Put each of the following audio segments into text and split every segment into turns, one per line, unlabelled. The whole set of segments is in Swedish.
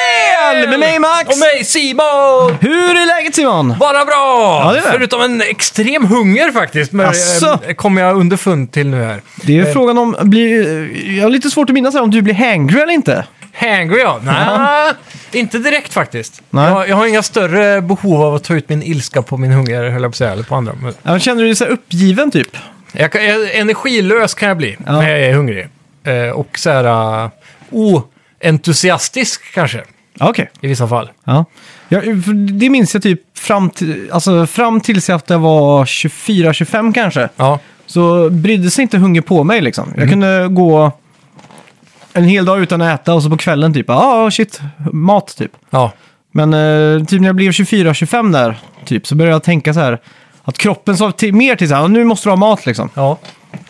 Daniel!
Med mig Max!
Och mig Simon!
Hur är läget Simon?
Bara bra!
Ja, det är det.
Förutom en extrem hunger faktiskt, men,
Asså?
eh, kommer jag underfund till nu här.
Det är frågan om, blir, jag har lite svårt att minnas här, om du blir hangry eller inte.
Hangry ja. Nej, inte direkt faktiskt.
Nej.
Jag, jag har inga större behov av att ta ut min ilska på min hunger, höll jag på att säga, eller på andra. Men
Ja, Känner du dig så här uppgiven typ?
jag kan, jag, energilös kan jag bli
Ja.
när jag är hungrig. Eh, och så här eh, oentusiastisk kanske,
Ja, Okej.
i vissa fall.
Ja. Ja, för det minns jag typ fram, till, alltså, fram tills jag att jag var 24-25 kanske.
Ja.
Så brydde sig inte hunger på mig liksom. Jag kunde gå en hel dag utan att äta och så på kvällen typ, ja ah, shit, mat typ.
Ja.
Men eh, typ när jag blev 24-25 där, typ, så började jag tänka så här. Att kroppen sa till, mer till så här, "Ah, nu måste du ha mat liksom.
ja.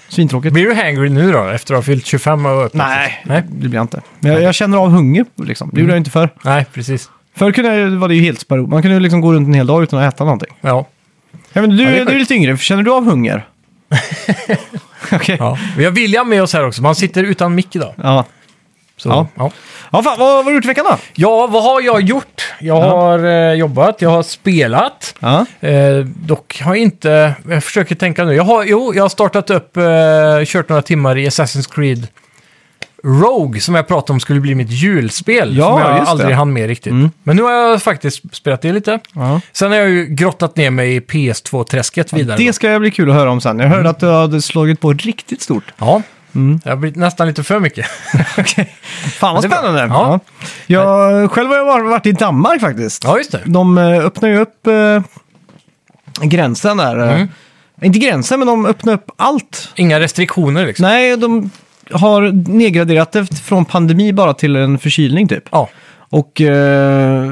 Svintråkigt.
Blir du hangry nu då, efter att ha fyllt 25 och öppnat?
Nej,
Nej. Mm.
det blir jag inte. Men jag, jag känner av hunger liksom. Det gjorde jag inte förr.
Nej, precis.
Förr kunde jag, ju- var det ju helt sparo. Man kunde ju liksom gå runt en hel dag utan att äta någonting.
Ja.
Jag vet, inte,
Ja,
du,
det är
du är
sjukt.
lite yngre, känner du av hunger? Okej. Ja.
Ja. Vi har William med oss här också, men han sitter utan mick idag.
Ja.
Så,
Ja.
ja. Ja.
fan, vad, vad har du gjort i veckan då?
vad har jag gjort? Jag
Ja.
har eh, jobbat, jag har spelat.
Ja.
Eh, dock har jag inte, jag försöker tänka nu, jag har, jo, jag har startat upp, eh, kört några timmar i Assassin's Creed Rogue som jag pratade om skulle bli mitt julspel.
Ja,
som jag
just det.
aldrig hann med riktigt.
Mm.
Men nu har jag faktiskt spelat det lite.
Ja.
Sen har jag ju grottat ner mig i PS2-träsket vidare.
Det ska jag bli kul att höra om sen. Jag
Mm.
hörde att du hade slagit på riktigt stort.
Ja,
Mm.
det har blivit nästan lite för mycket.
Fan vad
Det var-
spännande!
Ja.
Ja. Jag, själv har jag var- varit i Danmark faktiskt.
Ja, just det.
De eh, öppnar ju upp eh, gränsen där. eh.
Mm.
Inte gränsen, men de öppnar upp allt.
Inga restriktioner liksom.
Nej, de har nedgraderat det från pandemi bara till en förkylning typ.
Ja.
Och eh,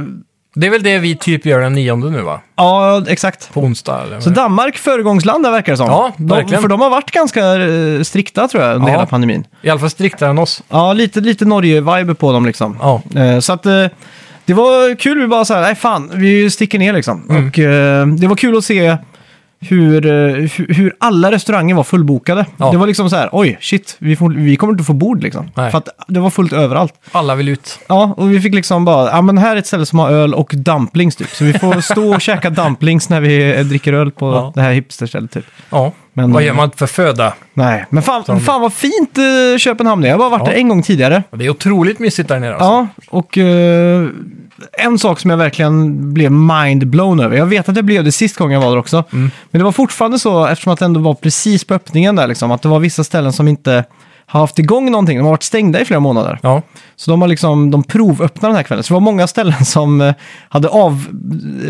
Det är väl det vi typ gör den nionde nu va?
ja, exakt.
På onsdag eller?
Så Danmark föregångsland där verkar det som.
Mm. Ja,
de,
verkligen.
för de har varit ganska eh, strikta tror jag under
Ja.
hela pandemin.
I alla fall striktare än oss.
Ja, lite, lite Norge-vibe på dem liksom.
Ja.
Eh, Så att eh, det var kul, vi bara så här, nej fan, vi sticker ner liksom.
Mm.
Och eh, det var kul att se hur, eh, hu- hur alla restauranger var fullbokade.
Ja.
Det var liksom så här, oj, shit, vi, får, vi kommer inte få bord liksom.
Nej.
För att det var fullt överallt.
Alla vill ut.
Ja, och vi fick liksom bara, ja men här är ett ställe som har öl och dumplings typ. Så vi får stå och käka dumplings när vi eh, dricker öl på
Ja.
det här hipsterstället typ.
Ja.
Men-
Vad gör man för föda?
Nej, men fan,
Som-
fan vad fint eh, Köpenhamn är. Jag har bara varit
Ja.
där en gång tidigare.
Och Det är otroligt mysigt där nere. Alltså.
Ja, och eh, en sak som jag verkligen blev mind-blown över. Jag vet att jag blev det sist gången jag var där också.
Mm.
Men det var fortfarande så, eftersom att det ändå var precis på öppningen där, liksom, att det var vissa ställen som inte har haft igång någonting. De har varit stängda i flera månader.
Ja.
Så de har liksom, de provöppnade den här kvällen. Så det var många ställen som eh, hade av,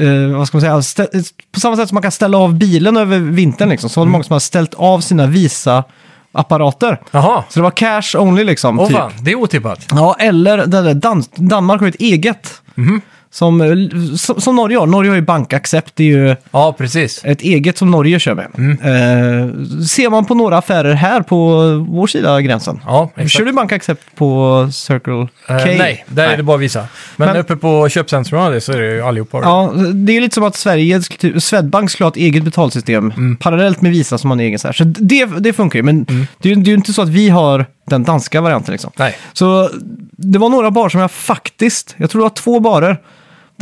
eh, vad ska man säga, stä- på samma sätt som man kan ställa av bilen över vintern liksom,
Mm.
så var det många som hade ställt av sina visa apparater.
Jaha.
Så det var cash only liksom.
Åh
typ.
fan, det är otippat.
Ja, eller det där Dan- Danmark har ju ett eget.
Mhm.
Som, eh, l- som, som Norge har. Norge har ju bankaccept. Det är ju
Ja, precis.
ett eget som Norge kör med.
Mm.
Eh, ser man på några affärer här på vår sida av gränsen.
Ja, exakt.
Kör du bankaccept på Circle K?
Eh, nej, där är det bara att visa. Men,
Men-
uppe på köpcentrum och det så är det ju allihopa. då.
Ja, det är ju lite som att Sverige, sk- typ, Swedbank skulle ha ett eget betalsystem
Mm.
parallellt med Visa som har en egen. Så, här. så det, det funkar ju, men det, är ju- det är ju inte så att vi har den danska varianten. Liksom.
Nej.
Så det var några barer som jag faktiskt, jag tror det var två barer.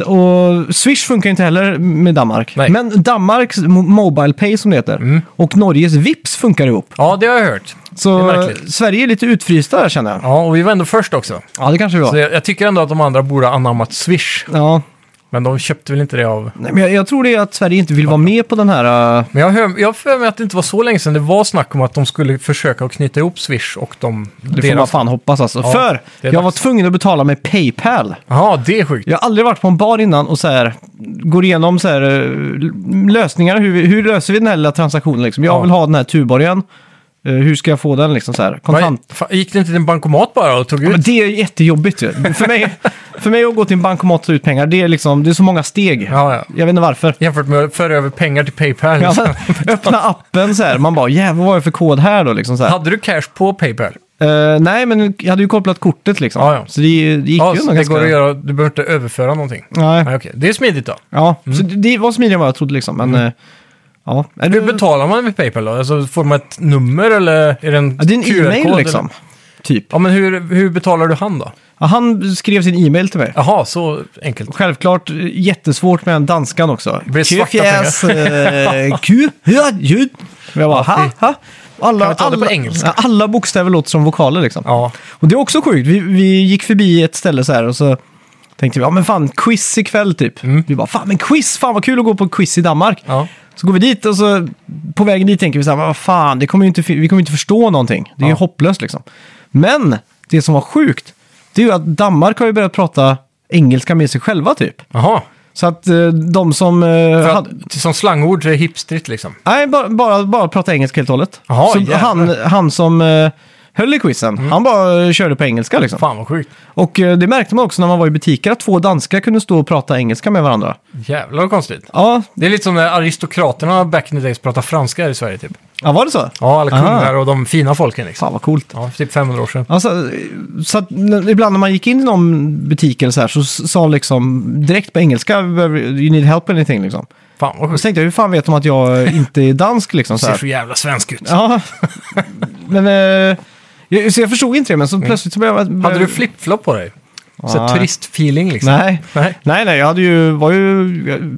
Och Swish funkar ju inte heller med Danmark.
Nej. Mm.
Men Danmarks Mo- Mobile Pay som det heter och Norges Vips funkar ihop.
Ja, det har jag hört.
Så
Det är märkligt.
Sverige är lite utfrysta där känner jag.
Ja, och vi var ändå först också.
Ja, det kanske vi
Så
var.
jag, jag tycker ändå att de andra borde ha anammat Swish.
Ja.
Men de köpte väl inte det av...
Nej, men jag, jag tror det är att Sverige inte vill vara med på den här... äh,
Men jag hör- jag har för mig att det inte var så länge sedan det var snack om att de skulle försöka att knyta ihop Swish och de...
Det får man fan hoppas alltså.
Ja,
För
det är
jag var
dags.
tvungen att betala med Paypal.
Ja, det är sjukt.
Jag har aldrig varit på en bar innan och så här, går igenom så här, eh, lösningar. Hur, vi- hur löser vi den här lilla transaktionen? Liksom? Jag
Ja.
vill ha den här tuborgen. Eh, hur ska jag få den? Liksom, så här, kontant.
Vad- fan, Gick det inte till en bankomat bara och tog
Ja,
ut?
Men det är jättejobbigt ju. för, mig, för mig att gå till en bankomat och ta ut pengar, det är, liksom, det är så många steg.
Ja, ja.
Jag vet inte varför.
Jämfört med att föra över pengar till Paypal.
Ja,
liksom.
öppna appen så här, man bara jävlar vad är det för kod här då? Liksom, så här.
Hade du cash på Paypal?
Eh, nej, men jag hade ju kopplat kortet liksom.
Ja, ja.
Så det, det gick
Ja,
ju
så
ändå
det
ganska...
går att göra. Du behöver inte överföra någonting.
Nej.
Nej, Mm. okej. Det är smidigt då.
Ja, så det- det var smidigare än vad jag trodde liksom. Men,
Mm.
eh, ja. Är det,
Hur betalar man med Paypal då? Alltså, får man ett nummer eller är det en
ja, det är en
QR-kod
e-mail
eller?
liksom. Typ.
Ja, men hur, hur betalar du han då?
Ja, han skrev sin e-mail till mig.
Jaha, så enkelt.
Självklart eh, jättesvårt med den danskan också.
Det blir svarta
Kufjäs, eh, ku, ja, ljud. Men jag bara, ha, ha.
Kan
Alla,
vi ta det på
alla,
engelska?
ja, alla bokstäver låter som vokaler liksom.
Ja,
Och det är också sjukt. Vi, vi gick förbi ett ställe så här och så tänkte vi, ja men fan, quiz ikväll typ.
Mm.
Vi bara, fan men quiz, fan vad kul att gå på quiz i Danmark.
ja.
Så går vi dit och så på vägen dit tänker vi så här, "Men vad fan, det kommer ju inte, fi- vi kommer ju inte förstå någonting. Det är ju
Ja.
hopplöst liksom. Men det som var sjukt, det är ju att Danmark har ju börjat prata engelska med sig själva typ.
Jaha.
Så att eh, de som... eh,
För
hade-
att, som slangord så är det hipstrigt liksom.
Nej, bara, bara, bara prata engelska helt och hållet.
Jaha,
så
jävlar. Mm.
han, han som eh, höll i quizen, han bara eh, körde på engelska liksom.
Fan vad sjukt.
Och eh, det märkte man också när man var i butiker, att två danskar kunde stå och prata engelska med varandra.
Jävlar vad konstigt.
Ja,
Det är lite som när aristokraterna back in the days pratade franska här i Sverige typ.
ja var det så?
Ja, alla
Aha.
kungar och de fina folken liksom.
Fan vad coolt.
Ja, för typ 500 år sedan.
Alltså, så att n- ibland när man gick in i någon butik eller så här så s- sa liksom direkt på engelska, "We behöver- you need help or anything liksom.
Fan vad
Och
sjukt.
så tänkte jag, hur fan vet de att jag inte är dansk liksom? Så
Ser
här.
så jävla svensk ut.
Ja, men eh, jag, så jag förstod inte det, men så plötsligt så började jag...
Mm. Hade du flip-flop på dig? Så här
Nej.
turistfeeling liksom.
Nej.
Nej.
Nej, nej, jag hade ju, var ju,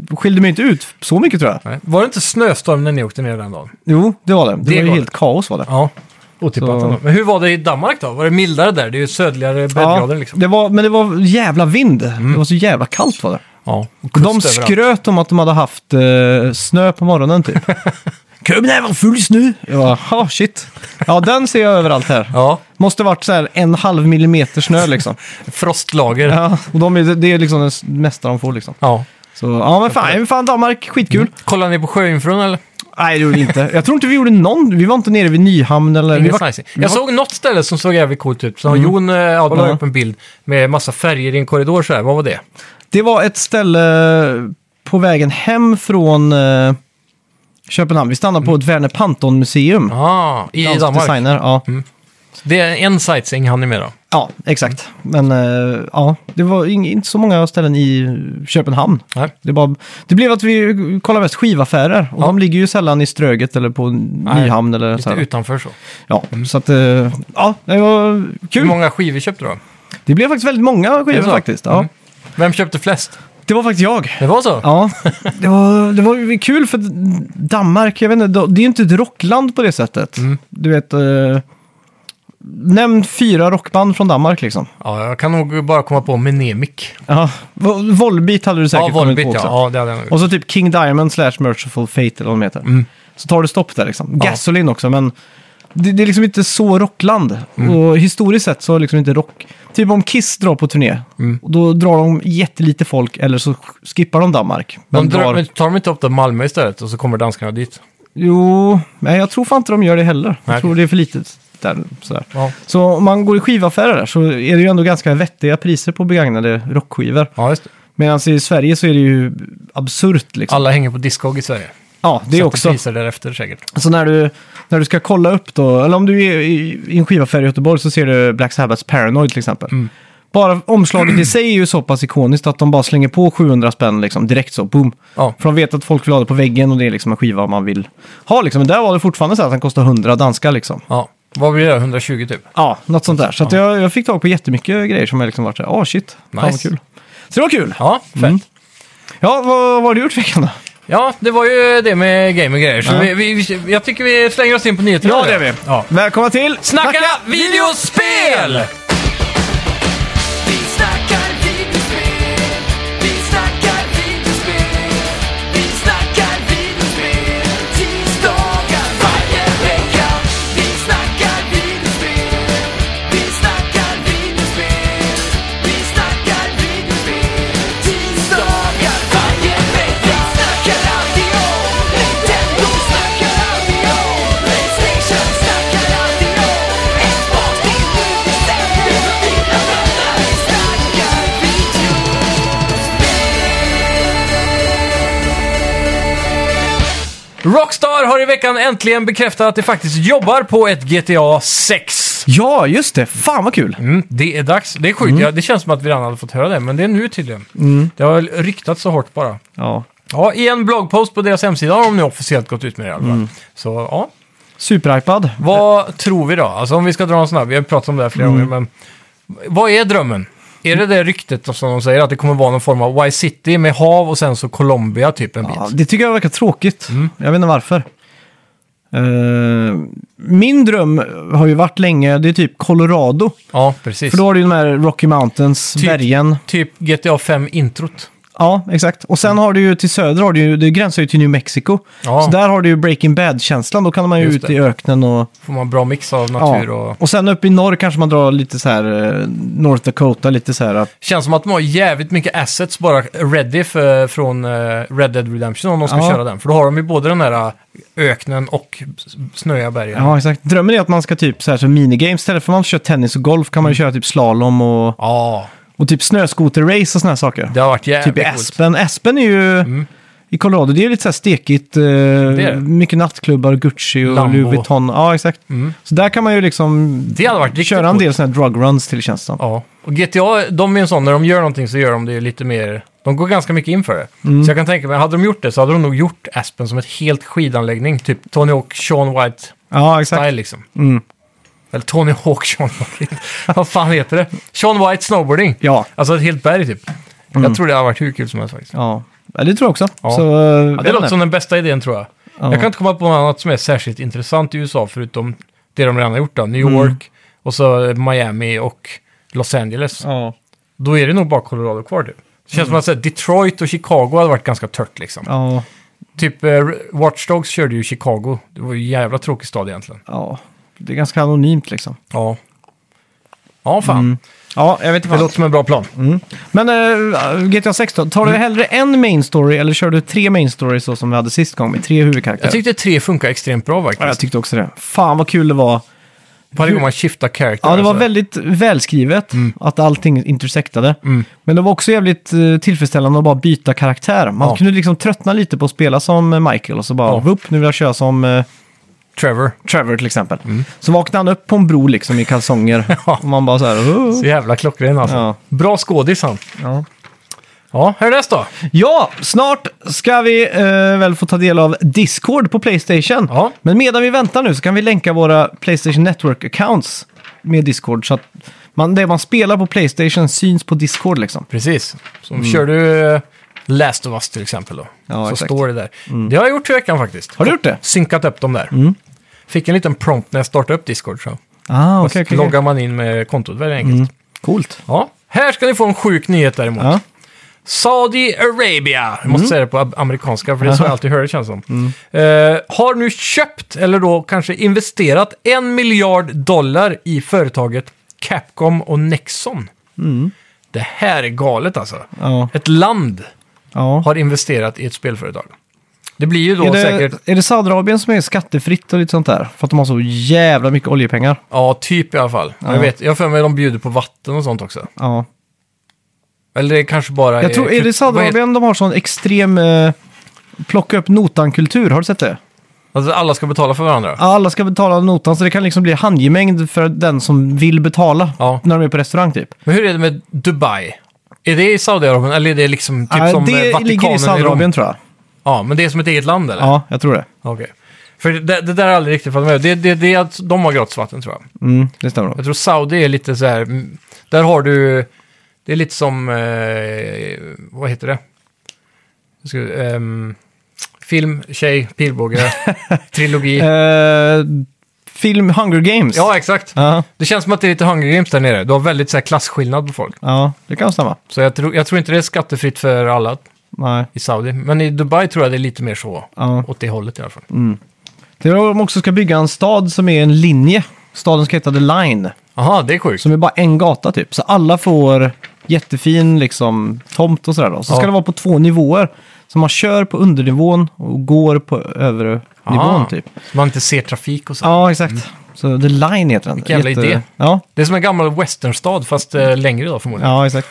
jag skilde mig inte ut så mycket tror jag.
Nej. Var det inte snöstorm när ni åkte ner den dagen?
Jo, det var det. Det,
Det
var ju
var
helt kaos var det.
Ja, otippat
Så-
ändå. Men hur var det i Danmark då? Var det mildare där? Det är ju södligare breddgrader liksom. Mm.
det var, men det var jävla vind. Det var så jävla kallt var det.
Ja,
de skröt om att de hade haft eh, snö på morgonen typ. Köpenhamn var full snö! Jag bara, "Ha, shit. Ja, den ser jag överallt här.
Ja,
Måste varit så här en halv millimeter snö liksom.
frostlager. Ja.
Ja, och de är, det är liksom det s- mesta de får liksom. Så ja, men fan, men fan Danmark, skitkul.
Kollade ni på sjöjungfrun eller?
Mm. Nej, det gjorde vi inte. Jag tror inte vi gjorde någon. Vi var inte nere vid Nyhamn eller... Vi
Inget
var,
nice. Jag såg något ställe som såg jävligt coolt ut.
Mm.
Så Jon eh, ja, la
Ja.
upp en bild med massa färger i en korridor så här. Vad var det?
det var ett ställe på vägen hem från eh, Köpenhamn. Vi stannade på ett Werner Panton-museum.
Ah, I
Dansk
Danmark.
designer, ja. Mm.
Det är en sightseeing han är med då.
Ja, exakt. Men eh, ja, det var ing- inte så många ställen i Köpenhamn.
Nej.
Det, bara, det blev att vi kollade mest skivaffärer. Och de ligger ju sällan i Ströget eller på Nyhamn eller så
Lite
här.
utanför så.
Ja, så att, eh, ja, det var
Hur
kul.
många skivor köpte du då?
Det blev faktiskt väldigt många
Är det
skivor
så?
faktiskt. Ja.
Mm. Vem köpte flest?
Det var faktiskt jag.
Det var så?
Ja, det var, det var ju kul för Danmark, jag vet inte, det är ju inte ett rockland på det sättet.
Mm.
Du vet, eh, nämn fyra rockband från Danmark liksom.
Ja, jag kan nog bara komma på Menemic.
Ja, Vol- Volbeat hade du säkert
Ja,
kommit
Volbit
på
ja.
också.
ja. det hade jag nog.
Och så typ King Diamond slash Merciful Fate eller vad de heter. Så tar du stopp där liksom.
Mm. Ja.
Gasoline också, men det, det är liksom inte så rockland.
Mm.
Och historiskt sett så har liksom inte rock... Typ om Kiss drar på turné,
Mm.
och då drar de jättelite folk eller så skippar de Danmark.
De
men
drar,
drar-
men tar de inte upp det Malmö istället och så kommer danskarna dit?
Jo, nej jag tror fan inte de gör det heller.
Nej.
Jag tror det är för litet där. Sådär.
Ja,
Så om man går i skivaffärer där så är det ju ändå ganska vettiga priser på begagnade rockskivor.
ja just det.
Medan i Sverige så är det ju absurt liksom.
Alla hänger på Discog i Sverige.
Ja, det är
Sätter
också.
priser därefter säkert.
Så Alltså när du, när du ska kolla upp då, eller om du är i, i en skivaffär i Göteborg så ser du Black Sabbaths Paranoid till exempel. Bara omslaget i sig är ju så pass ikoniskt att de bara slänger på 700 spänn liksom direkt så, boom.
Ja,
För de vet att folk vill ha det på väggen och det är liksom en skiva man vill ha liksom. Men där var det fortfarande så här att den kostar 100 danska liksom.
ja. Vad blir det? 120 typ?
Ja, något sånt där. Så att jag, jag fick tag på jättemycket grejer som jag liksom varit så här, ah shit, fan vad
Nice.
kul. Så det var kul.
Ja, fett.
Mm. Ja, vad, vad har du gjort i veckan då?
Ja, det var ju det med game och grejer. Så vi, vi, vi, jag tycker vi slänger oss in på nyheterna.
Ja, det är vi.
Ja.
Välkomna till
Snacka videospel!
Vi snackar videospel, vi snackar videospel, vi snackar videospel, tisdagar varje vecka. Vi snackar videospel, vi snackar videospel, vi snackar videospel, tisdagar varje vecka. Vi snackar alltid om Nintendo, snackar alltid om Playstation, snackar alltid om Xbox, det är nu vi sänder dina vänner. Vi snackar videospel.
Rockstar har i veckan äntligen bekräftat att de faktiskt jobbar på ett GTA 6.
Ja, just det. Fan vad kul.
Mm, det är dags. Det är sjukt. Ja, det känns som att vi redan hade fått höra det, men det är nu tydligen. Det har väl ryktats så hårt bara.
Ja.
Ja, i en bloggpost på deras hemsida har de nu officiellt gått ut med det i alla fall. Så ja,
Superhypad.
Vad tror vi då? Alltså om vi ska dra en sån här, vi har pratat om det här flera
Mm.
gånger, men vad är drömmen? Är det det ryktet som de säger, att det kommer vara någon form av Y-City med hav och sen så Colombia typ en bit?
Ja, det tycker jag verkar tråkigt.
Mm.
Jag vet inte varför. Eh, min dröm har ju varit länge, det är typ Colorado.
Ja, precis.
För då har du ju de här Rocky Mountains,
Typ.
bergen.
Typ GTA 5-introt.
Ja, exakt. Och sen har du ju till söder, har du ju, det gränsar ju till New Mexico.
Ja.
Så där har du ju Breaking Bad-känslan, då kan man ju
Just
ut
det.
i öknen och...
Får man bra mix av
Ja.
natur och...
Och sen uppe i norr kanske man drar lite så här, eh, North Dakota, lite så här. att-
Känns som att de har jävligt mycket assets bara ready för, från eh, Red Dead Redemption om de ska
Ja.
köra den. För då har de ju både den här eh, öknen och s- snöiga bergen.
Ja, exakt. Drömmen är att man ska typ så här som minigames, istället för att man kör tennis och golf kan man ju köra typ slalom och,
Ja,
och typ snöskoterrace och såna här saker.
Äh, det har varit jävligt
Typ i
coolt. Mm.
Aspen. Aspen är ju... I Colorado, det är ju lite så här stekigt. Eh,
det.
mycket nattklubbar, och Gucci och
Lambo. Mm.
Louis Vuitton. Ja, exakt. Så där kan man ju liksom
Det hade varit riktigt
köra en
coolt.
del sådana här drug runs till tjänsten.
Ja, och GTA, de är en sån, när de gör någonting så gör de det lite mer, de går ganska mycket in för det.
Mm.
Så jag kan tänka mig, hade de gjort det så hade de nog gjort Aspen som ett helt skidanläggning, typ Tony Hawk, Sean White-style
Ja, exakt.
liksom.
Mm.
Eller Tony Hawk, Sean White, vad fan heter det? Sean White Snowboarding,
Ja.
alltså ett helt berg typ. Jag tror det hade varit hur kul som helst faktiskt.
ja. Ja, det tror Mm. jag också.
Ja.
Så, eh,
Ja,
jag
det
vet
låter
inte.
som den bästa idén tror jag.
Ja.
Jag kan inte komma på något annat som är särskilt intressant i USA förutom det de redan har gjort då, New
Mm.
York och så Miami och Los Angeles.
Ja.
då är det nog bara Colorado kvar typ. Det känns som att så här, Detroit och Chicago hade varit ganska tört liksom.
Mm. Ja.
Typ eh, Watch Dogs körde ju Chicago. Det var ju en jävla tråkig stad egentligen.
ja. Det är ganska anonymt liksom.
Ja. Ja, fan.
Mm. Ja, jag vet
Det
inte. vad.
låter som en bra plan.
Mm. Men eh, GTA 6 då? Tar du
Mm.
hellre en main story eller kör du tre main stories så som vi hade sist gång med tre huvudkaraktärer?
Jag tyckte tre funkar extremt bra
ja, jag
faktiskt.
tyckte också det. Fan vad kul det var.
Varje gång man skiftar character.
Ja, det var
alltså.
väldigt välskrivet att allting intersektade.
Mm.
Men det var också jävligt eh, tillfredsställande att bara byta karaktär. Man
Ja.
kunde liksom tröttna lite på att spela som eh, Michael och så bara,
Ja.
vupp, nu vill jag köra som eh,
Trevor.
Trevor till exempel. Så vaknade han upp på en bro liksom i kalsonger.
Mm. Ja.
och man bara så här, "Åh."
Så jävla klockren alltså.
Mm. Ja.
Bra skådis han.
ja.
Ja, härnäst då.
ja, snart ska vi eh, väl få ta del av Discord på Playstation.
Ja.
Men medan vi väntar nu så kan vi länka våra Playstation Network-accounts med Discord. Så att man, det man spelar på Playstation syns på Discord liksom.
Precis. Så Kör du eh, Last of Us till exempel då.
Ja,
så
exakt. Mm.
står det där. Det har jag gjort i veckan faktiskt.
Har du gjort det?
Synkat upp dem där.
Mm.
Fick en liten prompt när jag startade upp Discord. Så.
Ah,
Okay, loggar man in med kontot väldigt enkelt.
Coolt.
Ja. Här ska ni få en sjuk nyhet däremot.
Mm. Ja. Mm.
Saudi Arabia, jag måste säga det på ab- amerikanska för det är så jag alltid hör det känns som. Eh, har nu köpt, eller då kanske investerat, en miljard dollar i företaget Capcom och Nexon. Det här är galet alltså.
Mm. Ja.
Ett land
ja.
har investerat i ett spelföretag. Det blir ju då
Är,
säkert,
det, är det Saudiarabien som är skattefritt och lite sånt där? För att de har så jävla mycket oljepengar.
ja typ i alla fall. Jag vet, jag har för mig att de bjuder på vatten och sånt också.
Ja.
Eller det kanske bara typ-
Jag tror, är det
vad heter-
Saudiarabien de har sån extrem eh, plocka upp notan-kultur? Har du sett det?
Alltså alla ska betala för varandra?
Ja, Alla ska betala notan så det kan liksom bli handgemängd för den som vill betala
Ja.
när de är på restaurang typ.
Men hur är det med Dubai? Är det i Saudiarabien eller är det liksom typ
Ja,
som eh,
det
Vatikanen
ligger i
Rom?
Saudiarabien tror jag.
Ja, men det är som ett eget land eller?
Ja, jag tror det.
Okej. För det, det där har jag aldrig riktigt fattat med. Det, det, det är att de har gratisvatten tror jag.
Mm, det stämmer nog.
Jag tror Saudi är lite så här, mm, där har du, det är lite som, eh, vad heter det? Jag Ska, ehm, film, tjej, pilbåge, trilogi.
Eh, film Hunger Games.
Ja, exakt.
ja.
Det känns som att det är lite Hunger Games där nere. Du har väldigt så här, klasskillnad på folk.
ja, det kan stämma.
Så jag, tror- jag tror inte det är skattefritt för alla
Nej.
i Saudi. Men i Dubai tror jag det är lite mer så.
Ja.
Åt det hållet i alla fall.
Det är de också ska bygga en stad som är en linje. Staden ska heta The Line.
Aha, det är sjukt.
Som är bara en gata typ. Så alla får jättefin liksom, tomt och sådär. Då. Så
Ja.
ska det vara på två nivåer. Så man kör på undernivån och går på övre nivån
Aha.
typ.
Så man inte ser trafik och så.
Ja, exakt. Så The Line heter den.
Vilken jävla idé.
Ja,
Det är som en gammal westernstad fast eh, längre då förmodligen.
ja exakt.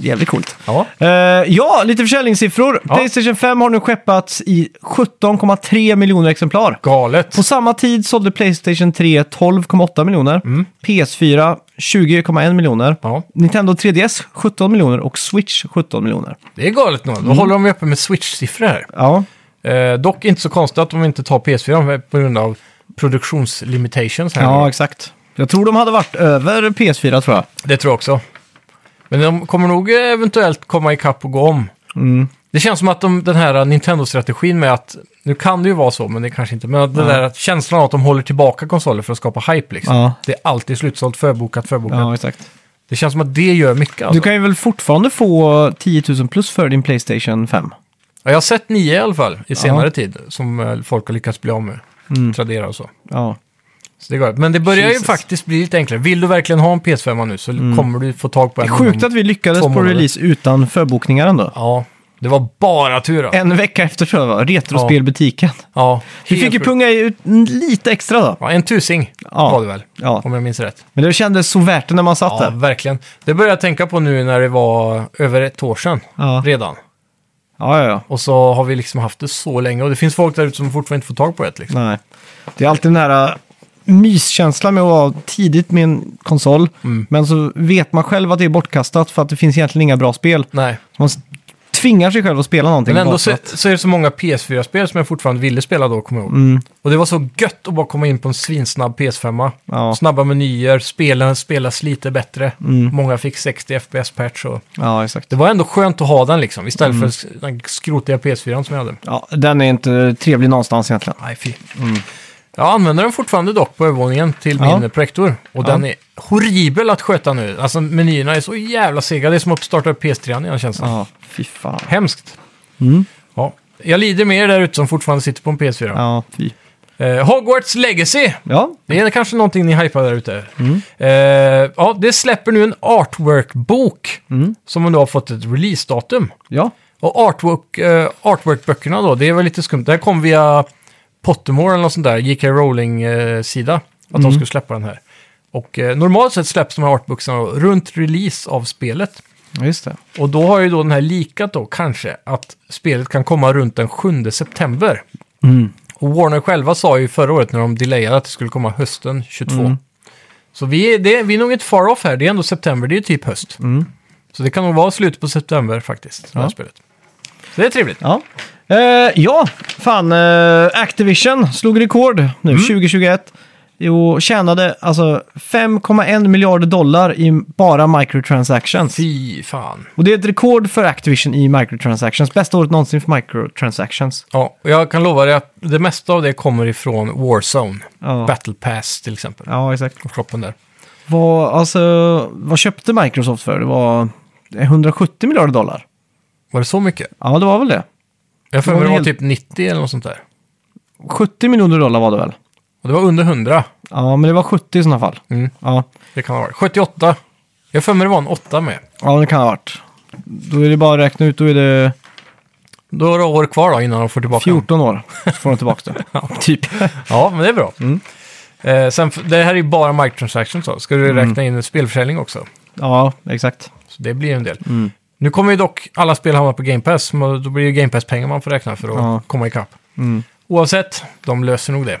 Jävligt coolt.
Ja.
Eh, ja, lite försäljningssiffror.
Ja.
Playstation 5 har nu skeppats i 17,3 miljoner exemplar.
Galet.
På samma tid sålde Playstation 3 12,8 miljoner,
Mm.
PS4 20,1 miljoner,
Ja,
Nintendo 3DS 17 miljoner och Switch 17 miljoner.
det är galet nog. Då
Mm.
håller de ju uppe med Switch-siffror här.
Ja,
Eh, dock inte så konstigt att de inte tar PS4 med- på grund av produktionslimitations här.
Ja, exakt. Jag tror de hade varit över PS4 tror jag.
Det tror jag också. Men de kommer nog eh, eventuellt komma ikapp och gå om. Det känns som att de, den här Nintendo-strategin med att, nu kan det ju vara så, men det kanske inte, men att den där att känslan av att de håller tillbaka konsoler för att skapa hype liksom.
Ja.
Det är alltid slutsålt, förbokat, förbokat.
Ja, exakt.
Det känns som att det gör mycket. Alltså.
Du kan ju väl fortfarande få 10 000 plus för din Playstation 5?
Ja, jag har sett nio i alla fall i senare tid som eh, folk har lyckats bli av med. Tradera och så.
Ja.
så det går. Men det börjar ju
Mm. Jesus. Mm.
faktiskt bli lite enklare. Vill du verkligen ha en PS5 nu så kommer du få tag på en.
Sjukt
inom-
att vi lyckades
Mm. Två
på
månader.
release utan förbokningar ändå.
Ja, det var bara tur. Alltså.
En vecka efter tror jag det var, Retrospelbutiken.
Ja,
Vi fick ju
helt sjukt.
punga ut lite extra då.
Ja, en tusing
Ja.
var det väl,
Ja.
om jag minns rätt.
Men det kändes så värt det när man satt
Ja,
där.
verkligen. Det började jag tänka på nu när det var över ett år sedan
Ja.
redan.
Ja, ja, ja.
Och så har vi liksom haft det så länge och det finns folk där ute som fortfarande inte får tag på ett. Liksom.
Nej. Det är alltid den här äh, myskänslan med att vara tidigt med en konsol. Men så vet man själv att det är bortkastat för att det finns egentligen inga bra spel.
Nej.
Man s- tvingar sig själv att spela någonting.
Men ändå
bara
så,
för att-
så är det så många PS4-spel som jag fortfarande ville spela då, kommer jag ihåg.
Mm.
Och det var så gött att bara komma in på en svinsnabb PS5.
Ja. Mm.
Snabba menyer, spelen spelas lite bättre. Många fick 60 FPS-patch och...
Ja, exakt.
Det var ändå skönt att ha den liksom, istället
Mm.
för den skrotiga PS4 som jag hade.
Ja, den är inte trevlig någonstans egentligen.
Nej, fy. Jag använder den fortfarande dock på övervåningen till
Ja.
min projektor. Och den är horribel att sköta nu. Alltså menyerna är så jävla sega. Det är som att starta upp PS3 igen känns det.
Ja, Mm. fy fan.
Hemskt. Ja. Jag lider med er där ute som fortfarande sitter på en PS4.
Ja, fy.
Eh, Hogwarts Legacy.
Ja,
Det är kanske någonting ni hypar där ute.
Mm.
Eh, ja, det släpper nu en artwork-bok
Mm.
som nu har fått ett release-datum.
ja.
Och artwork, eh, artwork-böckerna då, det var lite skumt. Det här kom via Pottermore eller något sånt där, J.K. Rowling-sida. eh, att de skulle släppa den här. Och eh, normalt sett släpps de här artbooksarna runt release av spelet.
Ja, Just det.
Och då har ju då den här likat då kanske att spelet kan komma runt den 7 september.
Mm.
Och Warner själva sa ju förra året när de delayade att det skulle komma hösten 22. Så vi är, det, vi är nog inte far off här, det är ändå september, det är ju typ höst. Så det kan nog vara slutet på september faktiskt, det här
Ja.
spelet. Så det är trevligt.
Ja. Eh, ja, fan. eh, Activision slog rekord nu 2021. Jo, tjänade alltså 5,1 miljarder dollar i bara microtransactions.
Fy fan.
Och det är ett rekord för Activision i microtransactions. Bästa året någonsin för microtransactions.
Ja, och jag kan lova dig att det mesta av det kommer ifrån Warzone.
Ja.
Battle Pass till exempel.
Ja, exakt.
Och shoppen där.
Vad, alltså, vad köpte Microsoft för? Det var 170 miljarder dollar.
Var det så mycket?
Ja, det var väl det.
Jag för mig
Det
det
var
var
helt-
typ 90 eller något sånt där.
70 miljoner dollar var det väl?
Och det var under 100.
Ja, men det var 70 i sådana fall.
Mm.
Ja,
Det kan ha varit. 78. Jag har för mig det var en 8 med.
ja det kan ha varit. Då är det bara att räkna ut, då är det
Då har du år kvar då innan de får tillbaka den.
14 år. Så får de tillbaka det. Typ.
Ja, men det är bra.
Mm.
Eh, sen, f- det här är ju bara microtransactions då. Ska du
Mm.
räkna in spelförsäljning också?
Ja, exakt.
Så det blir ju en del.
Mm.
Nu kommer ju dock alla spel hamna på Game Pass. men Då blir det ju Game Pass-pengar man får räkna för att
Ja. Mm.
komma ikapp. Oavsett, de löser nog det.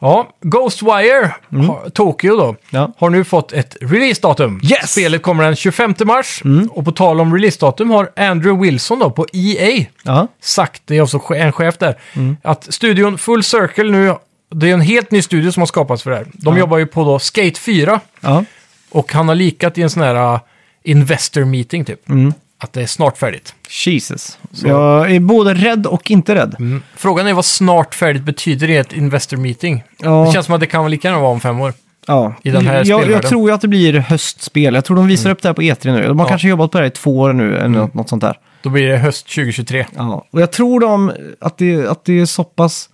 Ja, Ghostwire ha- Tokyo då,
Mm. Ja.
har nu fått ett releasedatum.
Yes! Mm.
Spelet kommer den 25 mars. Och på tal om releasedatum har Andrew Wilson då på EA
Ja,
sagt, det är också che- en chef där,
Mm.
att studion Full Circle nu, det är en helt ny studio som har skapats för det här. De jobbar ju på då Skate 4
ja.
och han har likat i en sån här uh, investor meeting typ.
Mm.
Att det är snart färdigt.
Jesus. Jag är både rädd och inte rädd.
Mm. Frågan är vad snart färdigt betyder i ett investor meeting.
Ja.
Det känns som att det kan lika gärna vara om fem år.
Ja.
I den här
jag, jag
spelvärlden. Mm.
tror ju att det blir höstspel. Jag tror de visar upp det här på E3 nu. De har
Ja. Mm.
kanske jobbat på det här i två år nu, eller något, något sånt där.
Då blir det höst 2023.
Ja. Och jag tror de, att, det, att det är så pass...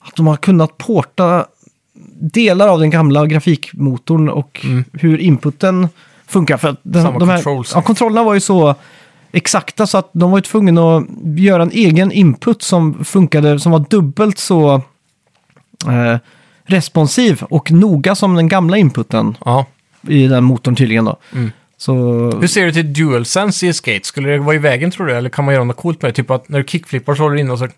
Att de har kunnat porta delar av den gamla grafikmotorn och hur inputen funkar. För att den,
Mm. Samma
de här,
controls.
Ja, kontrollerna var ju så exakta så att de var ju tvungna att göra en egen input som funkade, som var dubbelt så eh, responsiv och noga som den gamla inputen
Ja.
i den motorn tydligen då. Så,
Mm. Hur ser du till DualSense i Skate? Skulle det vara i vägen tror du? Eller kan man göra något coolt med det? Typ att när du kickflippar så håller du in och så...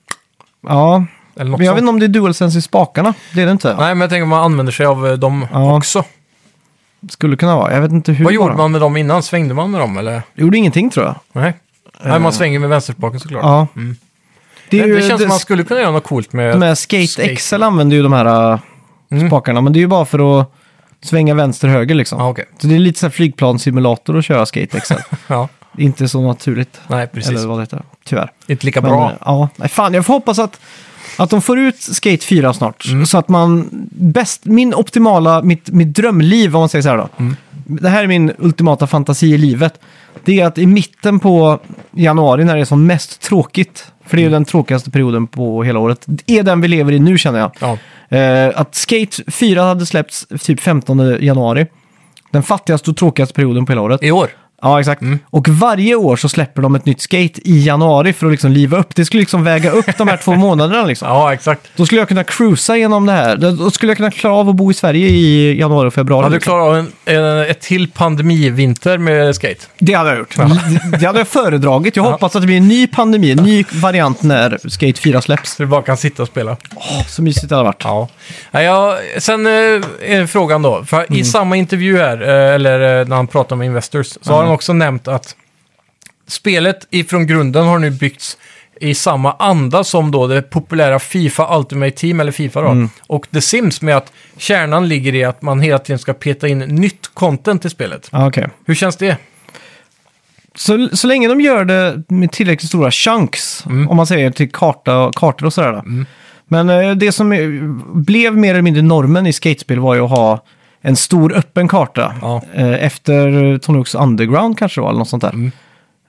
ja.
Eller något
Men jag
sånt.
vet inte om det är DualSense i spakarna. Det är det inte.
Nej, men jag tänker att man använder sig av eh, dem
Ja.
också.
Skulle kunna vara. Jag vet inte hur.
Vad gjorde
bara.
man med dem innan? Svängde man med dem eller?
Gjorde ingenting tror jag.
Nej. Nej, man svänger med vänsterspaken såklart.
Ja. Eh. Det, är
Mm. Det,
ju,
känns som man skulle kunna göra något coolt med...
De här Skate,
Skate. Mm.
XL använder ju de här äh, spakarna, men det är ju bara för att svänga vänster höger liksom.
Ja, okej.
Så det är lite så här flygplanssimulator att köra Skate XL.
Ja,
Det är inte så naturligt.
nej, precis.
Eller vad det heter, tyvärr.
Inte lika
Men,
bra.
eh, Ja, nej, fan, jag får hoppas att, att de får ut Skate 4 snart. Så att man, bäst, min optimala, mitt, mitt drömliv om man säger så här då. Det här är min ultimata fantasi i livet. Det är att i mitten på januari när det är som mest tråkigt, för det är ju den tråkigaste perioden på hela året, det är den vi lever i nu känner jag.
Ja.
Eh, att Skate 4 hade släppts typ 15 januari. Den fattigaste och tråkigaste perioden på hela året.
I år?
Ja, exakt. Och varje år så släpper de ett nytt skate i januari för att liksom liva upp. Det skulle liksom väga upp de här två månaderna liksom.
Ja, exakt.
Då skulle jag kunna cruisa genom det här. Då skulle jag kunna klara av att bo i Sverige i januari och februari.
Hade du
liksom.
klarat av en, en, ett till pandemivinter med skate?
Det hade jag gjort. Det- Det hade jag föredragit. Jag hoppas att det blir en ny pandemi, en ny variant när Skate 4 släpps.
Så du bara kan sitta och spela?
Åh, så mysigt det hade varit.
Ja. Nej, jag, sen eh, är frågan då. För
Mm.
I samma intervju här, eh, eller eh, när han pratar om Investors, så
Mm.
har han också nämnt att spelet ifrån grunden har nu byggts i samma anda som då det populära Fifa Ultimate Team, eller Fifa då,
Mm.
och The Sims med att kärnan ligger i att man hela tiden ska peta in nytt content i spelet.
Ja, okej.
Hur känns det?
Så, så länge de gör det med tillräckligt stora chunks,
Mm.
om man säger till karta, kartor och sådär. då. Men eh, det som eh, blev mer eller mindre normen i skatespel var ju att ha en stor öppen karta.
Ja.
Eh, efter eh, Tony Hawk's Underground kanske det var, eller något sånt där.
Mm.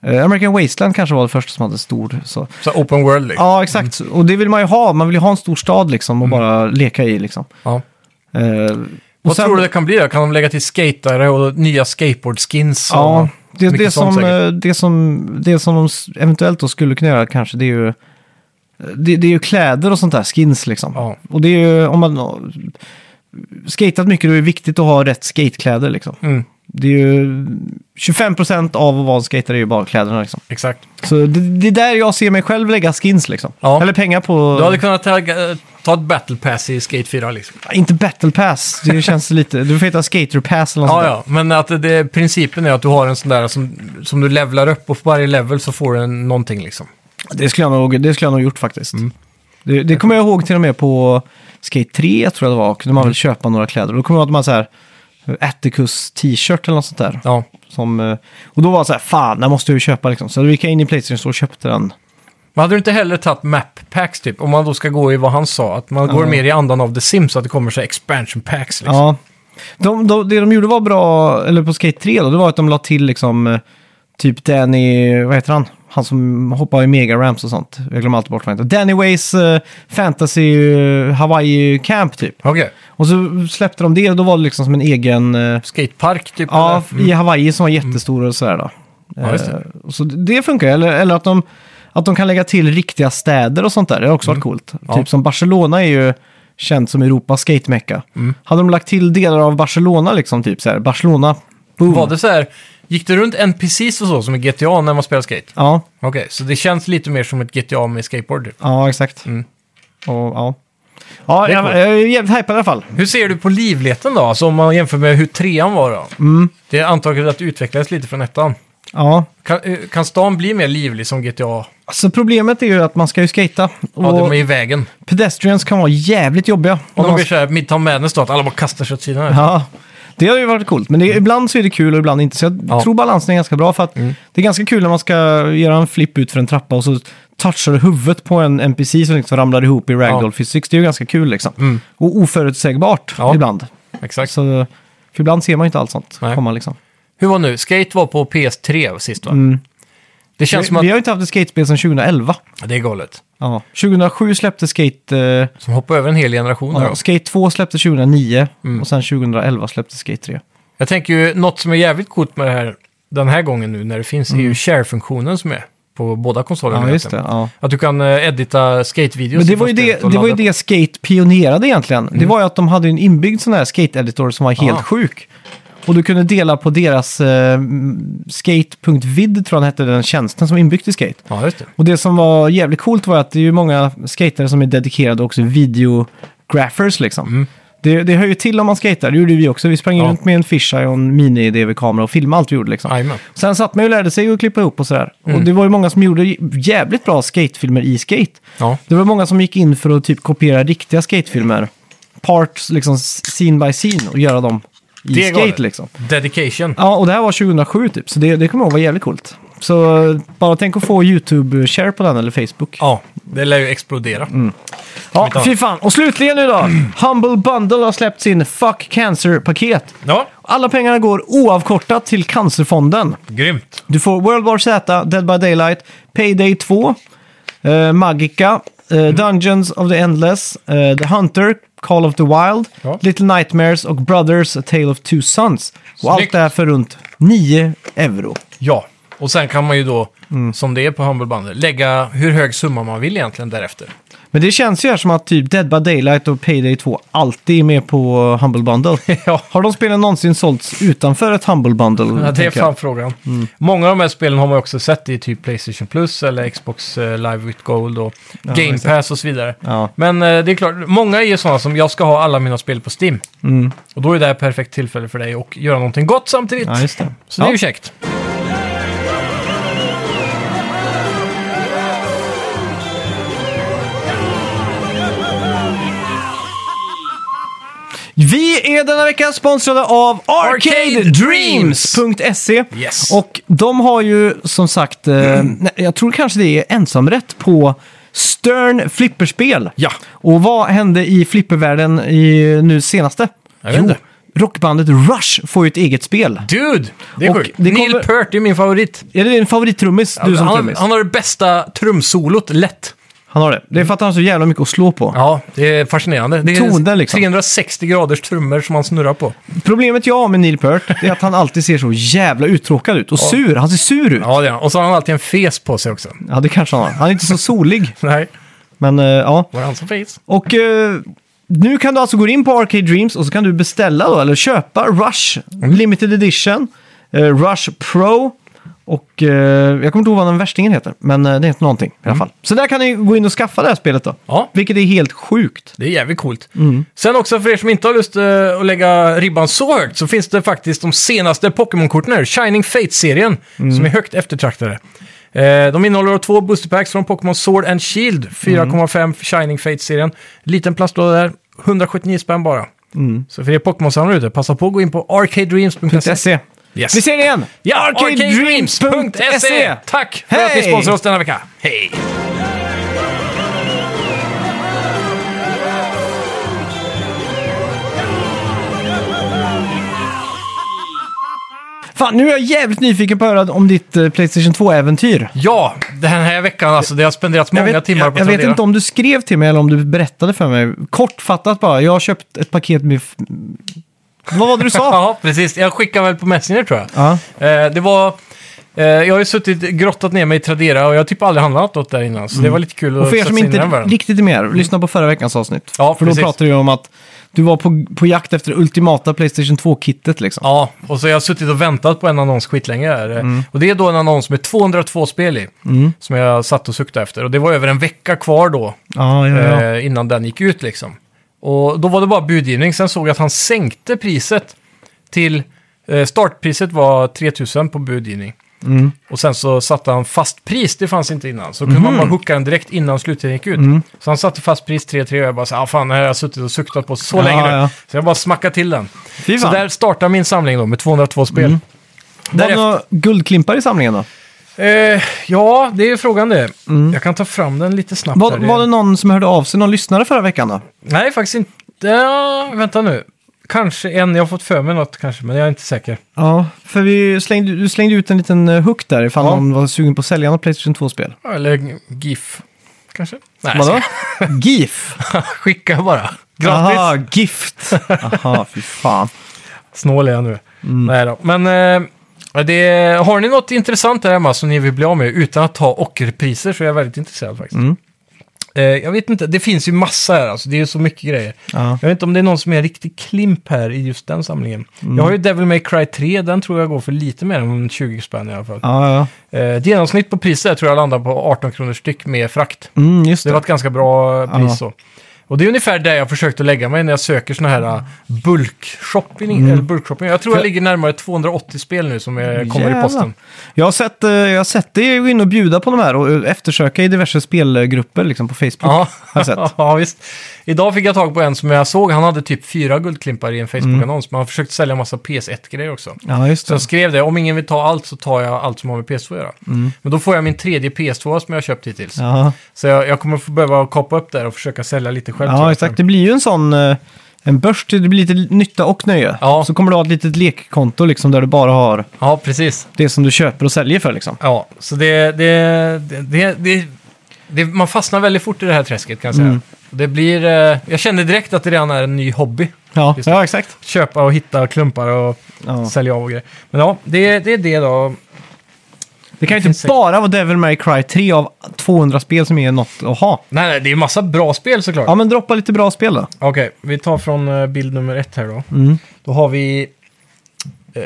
Eh, American Wasteland kanske var det första som hade stor. Så.
Så här open world liksom.
Ja, exakt. Och det vill man ju ha. Man vill ju ha en stor stad liksom och bara leka i liksom.
Ja.
Eh,
Mm. Vad
och sen-
tror du det kan bli då? Kan de lägga till skatare och nya skateboardskins?
Ja,
och
det,
mycket
det,
sånt
som,
säkert?
eh, det, som, det som de s- eventuellt då skulle kunna göra kanske, det är ju, det, det är ju kläder och sånt där, skins liksom.
Ja.
Och det är ju, om man har skatat mycket, då är det viktigt att ha rätt skatekläder liksom.
Mm,
Det är ju 25% av att vara en skater är ju bara kläderna liksom.
exakt.
Så det, det är där jag ser mig själv lägga skins liksom.
Ja.
Eller pengar på...
Du hade kunnat tagga- ta ett battle pass i Skate 4 liksom.
Inte battle pass, det känns lite... Du får heta skater pass eller något
Ja,
sånt där.
ja, men att det, principen är att du har en sån där som, som du levlar upp och för varje level så får du en, någonting liksom.
Det skulle jag nog, det skulle jag nog gjort faktiskt. Det, det kommer jag ihåg till och med på Skate 3, tror jag det var, kunde man väl köpa några kläder. Då kommer jag ihåg att man så här eh, Atticus t-shirt eller något sånt där.
Ja,
Som, eh, och då var det så här, fan, den måste jag ju köpa liksom. Så då gick jag in i Playstation Store och köpte den.
men hade du inte hellre tagit map packs typ? Om man då ska gå i vad han sa, att man går mer i andan av The Sims, att det kommer så här expansion packs liksom.
Ja. De, de, det de gjorde var bra, eller på Skate 3 då, det var att de la till liksom eh, typ Danny, vad heter han? Han som hoppar i mega ramps och sånt. Jag glömmer alltid bort vad han heter. Danny Ways eh, fantasy eh, Hawaii camp typ.
Okej,
Och så släppte de det och då var det liksom som en egen... eh,
skatepark typ?
Ja,
eller? Mm.
i Hawaii som var jättestor och sådär då.
Ja, just det.
Eh, och Så det det funkar, eller, eller att, de, att de kan lägga till riktiga städer och sånt där. Det har också varit coolt.
Mm. Ja.
Typ som Barcelona är ju känt som Europas skatemecka.
Mm.
Hade de lagt till delar av Barcelona liksom, typ så här, Barcelona, boom.
Var det så här, gick det runt NPCs och så som i GTA när man spelar skate?
Ja,
Okej, så det känns lite mer som ett GTA med skateboard typ.
ja exakt.
Mm.
Och, ja. Ja,
Det är
jag,
coolt.
jag är jävligt hajpad i alla fall.
Hur ser du på livligheten då? Alltså om man jämför med hur trean var då?
Mm.
Det är antagligen att det utvecklades lite från ettan.
Ja.
Kan, eh, kan stan bli mer livlig som GTA?
Alltså problemet är ju att man ska ju skata.
Ja, de
Och
är i vägen.
pedestrians kan vara jävligt jobbiga.
Om
man
de blir så här Midtown Madness då, att alla bara kastar sig åt sidan.
Ja, det har ju varit coolt. Men det, ibland så är det kul och ibland inte. Så jag
Ja. Mm.
tror balansen är ganska bra för att det är ganska kul när man ska göra en flip ut för en trappa och så touchar du huvudet på en NPC som liksom ramlar ihop i ragdoll
Ja.
physics. Det är ju ganska kul liksom.
Mm.
Och oförutsägbart
Ja.
ibland.
Exakt.
Så, för ibland ser man ju inte allt sånt
Nej.
komma liksom.
Hur var nu? Skate var på PS3 sist va?
Mm.
Det känns som
vi,
att...
vi har ju inte haft ett skatespel sedan 2011.
Det är galet.
Ja. 2007 släppte Skate... Eh,
Som hoppar över en hel generation där
ja,
då.
skate 2 släppte 2009
Mm.
och sen 2011 släppte Skate 3.
Jag tänker ju, något som är jävligt coolt med det här den här gången nu när det finns är ju share-funktionen som är på båda konsolerna.
Mm. Ja, just det.
egentligen.
Ja.
Att du kan eh, edita skate-videos.
Men det
ifrån
var ju
spelet
det,
och
det, var ju
ladda upp. Mm.
det Skate pionerade egentligen. Det var ju att de hade en inbyggd sån här Skate-editor som var helt
Ah.
sjuk. Och du kunde dela på deras eh, skate.vid, tror jag den hette, den tjänsten som är inbyggd i Skate.
Ja, just det.
Och det som var jävligt coolt var att det är ju många skatare som är dedikerade också videographers liksom. Det, det hör ju till om man skater. Det gjorde vi också. Vi sprang
Mm. Ja.
runt med en fisheye och en mini-DV-kamera och filmade allt vi gjorde. Liksom.
Jajamän.
Sen satt man ju och lärde sig att klippa ihop och sådär.
Mm.
Och det var ju många som gjorde jävligt bra skatefilmer i skate.
Ja.
Det var många som gick in för att typ kopiera riktiga skatefilmer. Parts, liksom scene by scene och göra dem i
Det är
skate
galet.
liksom.
Dedication.
Ja, och det här var 2007 typ, så det, det kommer jag ihåg var jävligt coolt. Så eh, bara tänk att få YouTube-share på den eller Facebook.
Ja, det lär ju explodera.
Mm. Ja, fy fan. Och slutligen nu då. Humble Bundle har släppt sin Fuck Cancer-paket.
Ja,
Alla pengarna går oavkortat till Cancerfonden.
grymt.
Du får World War Z, Dead by Daylight, Payday 2, eh, Magica, eh,
Mm.
Dungeons of the Endless, eh, The Hunter, Call of the Wild,
Ja.
Little Nightmares och Brothers, A Tale of Two Sons. Och allt
Snyggt.
det här för runt 9 euro.
Ja, och sen kan man ju då,
Mm.
som det är på Humble Bundle, lägga hur hög summa man vill egentligen därefter.
Men det känns ju här som att typ Dead by Daylight och Payday 2 alltid är med på Humble Bundle.
Ja.
Har de spelen någonsin sålts utanför ett Humble Bundle?
Ja, det är
tänker jag? Mm.
fan frågan. Många av de här spelen har man ju också sett i typ Playstation Plus eller Xbox eh, Live with Gold och Game
exakt.
Pass och så vidare.
Ja.
Men eh, det är klart, många är ju sådana som jag ska ha alla mina spel på Steam.
Mm.
Och då är det här ett perfekt tillfälle för dig att göra någonting gott samtidigt.
ja, just det.
Så det är
Ja.
ju käckt.
Vi är denna vecka sponsrade av ArcadeDreams.se.
Yes. Mm.
Och de har ju som sagt, eh, nej, jag tror kanske det är ensamrätt på Stern flipperspel.
Ja.
Och vad hände i flippervärlden i nu senaste?
Jag vet inte.
rockbandet Rush får ju ett eget spel.
Dude! Det är
Och
sjukt.
det
Neil
kommer-
Peart är min favorit.
Är det din favorittrummis? Du som
han,
trummis?
han har det bästa trumsolot, lätt.
Han har det. Det är för att han har så jävla mycket att slå på.
Ja, det är fascinerande. Det är
Tonen, liksom.
360 graders trummor som han snurrar på.
Problemet jag har med Neil Peart är att han alltid ser så jävla uttråkad ut och sur. Han ser sur ut.
Ja, det är han. Och så har han alltid en fes på sig också.
Ja, det kanske han har. Han är inte så solig.
Nej,
Men eh, ja.
var det han som fes?
Och eh, nu kan du alltså gå in på Arcade Dreams och så kan du beställa då, eller köpa Rush Limited Edition, eh, Rush Pro och eh, jag kommer inte ihåg vad den värstingen heter, men eh, det heter någonting i alla fall. Så där kan ni gå in och skaffa det här spelet då,
Mm. Ja.
vilket är helt sjukt.
Det är jävligt coolt.
Mm.
Sen också för er som inte har lust eh, att lägga ribban så högt så finns det faktiskt de senaste Pokémon-korten här, Shining Fate-serien,
Mm.
som är högt eftertraktade. Eh, de innehåller då två boosterpacks från Pokémon Sword and Shield, 4,5
Mm.
för Shining Fate-serien. Liten plastlåda där, 179 spänn bara.
Mm.
Så för er Pokémon-samlare ute, passa på att gå in på arcadedreams.se.
SE.
Yes.
E. Vi ser det igen!
Ja, arcadedreams.se! E. Tack för att ni
E. Hej!
sponsrar oss denna vecka. Hej!
Fan, nu är jag jävligt nyfiken på att höra om ditt eh, Playstation 2-äventyr.
Ja, den här veckan alltså, det har spenderats många
jag vet,
timmar på
jag, jag vet
Tradera.
inte om du skrev till mig eller om du berättade för mig. Kortfattat bara, jag har köpt ett paket med... f- Vad var det du sa?
Ja, precis. Jag skickade väl på Messenger tror jag.
ja.
Eh, det var... Eh, jag har ju suttit grottat ner mig i Tradera och jag har typ aldrig handlat något där innan. Så det var lite kul
Mm. Och
att
för er
sätta
som
sig in i den
inte
världen.
riktigt är med, lyssna på förra veckans avsnitt.
Ja,
för då
precis.
pratade vi om att du var på, på jakt efter det ultimata Playstation 2-kittet liksom.
Ja, och så har jag suttit och väntat på en annons skitlänge där. Eh,
Mm.
Och det är då en annons med 202 spel i. Som jag satt och suktade efter. Och det var över en vecka kvar då.
Ja, ja, ja.
eh, innan den gick ut liksom. Och då var det bara budgivning, sen såg jag att han sänkte priset till, eh, startpriset var 3000 på budgivning.
Mm.
Och sen så satte han fast pris, det fanns inte innan. Så
Mhm.
kunde man bara hooka den direkt innan slutet gick ut.
Mm.
Så han satte fast pris 3-3 och jag bara så här, ah, fan, det här har jag suttit och suktat på så
Ja,
länge nu.
ja.
Så jag bara smackade till den.
Fy
Så
fan. Mm.
där startar min samling då med 202 spel.
var det
därefter-
några guldklimpar i samlingen då?
Eh, ja, det är ju frågan det.
Mm.
Jag kan ta fram den lite snabbt.
Var,
här.
var det någon som hörde av sig, någon lyssnare förra veckan då?
Nej, faktiskt inte. Ja, vänta nu. Kanske en. Jag har fått för mig något kanske, men jag är inte säker.
Ja, för vi slängde, du slängde ut en liten eh, hook där ifall
Ja.
någon var sugen på att sälja något Playstation 2-spel.
Eller GIF, kanske? Nej,
Vadå? GIF?
jag ska- Skicka bara. Gratis.
Aha, gift! Aha, fy fan.
Snål är jag nu. Nej då. Men eh, det, har ni något intressant där hemma som ni vill bli av med utan att ta ockerpriser så är jag väldigt intresserad faktiskt. Eh, jag vet inte, det finns ju massa här alltså. Det är ju så mycket grejer.
Ja.
Jag vet inte om det är någon som är en riktig klimp här i just den samlingen. Jag har ju Devil May Cry 3, den tror jag går för lite mer än 20 spänn i alla fall.
Ja, ja.
Eh, ett genomsnitt på priset tror jag landar på 18 kronor styck med frakt.
Mm, just
Det var ett ganska bra pris
Ja.
så. Och det är ungefär där jag försökte lägga mig när jag söker såna här uh, bulkshopping. Eller bulkshopping. Jag tror jag
Mm. För-
ligger närmare 280 spel nu som eh, kommer
Jävlar.
i posten.
Jag har sett, eh, jag har sett dig gå in och bjuda på de här och eh, eftersöka i diverse spelgrupper liksom på Facebook.
Ja,
Har jag sett.
ja, visst. Idag fick jag tag på en som jag såg. Han hade typ fyra guldklimpar
Mm.
i en Facebook-annons. Men han försökte sälja en massa PS1-grejer också.
Ja, just
Så jag
det.
skrev det, om ingen vill ta allt så tar jag allt som har med PS2 att göra.
Mm.
Men då får jag min tredje PS2 som jag har köpt hittills.
Ja.
Så jag, jag kommer få behöva kapa upp där och försöka sälja lite själv. typ. tror
ja,
jag.
exakt. Det blir ju en sån eh, en börs till det blir lite nytta och nöje.
Ja.
Så kommer du ha ett litet lekkonto liksom där du bara har
Ja, precis.
det som du köper och säljer för liksom.
Ja, så det, det, det, det, det, det... Man fastnar väldigt fort i det här träsket kan jag säga.
Mm.
Det blir... eh, Jag känner direkt att det redan är en ny hobby.
Ja,
Just det.
ja exakt.
Köpa och hitta klumpar och
Ja.
sälja av och grejer. Men ja, det, det är det då.
Det kan ju
finns
inte
säkert-
bara vara Devil May Cry 3 av 200 spel som är något att ha.
Nej, nej, det är ju massa bra spel såklart.
Ja, men droppa lite bra spel då.
Okej, vi tar från eh, bild nummer ett här då.
Mm.
Då har vi... Eh,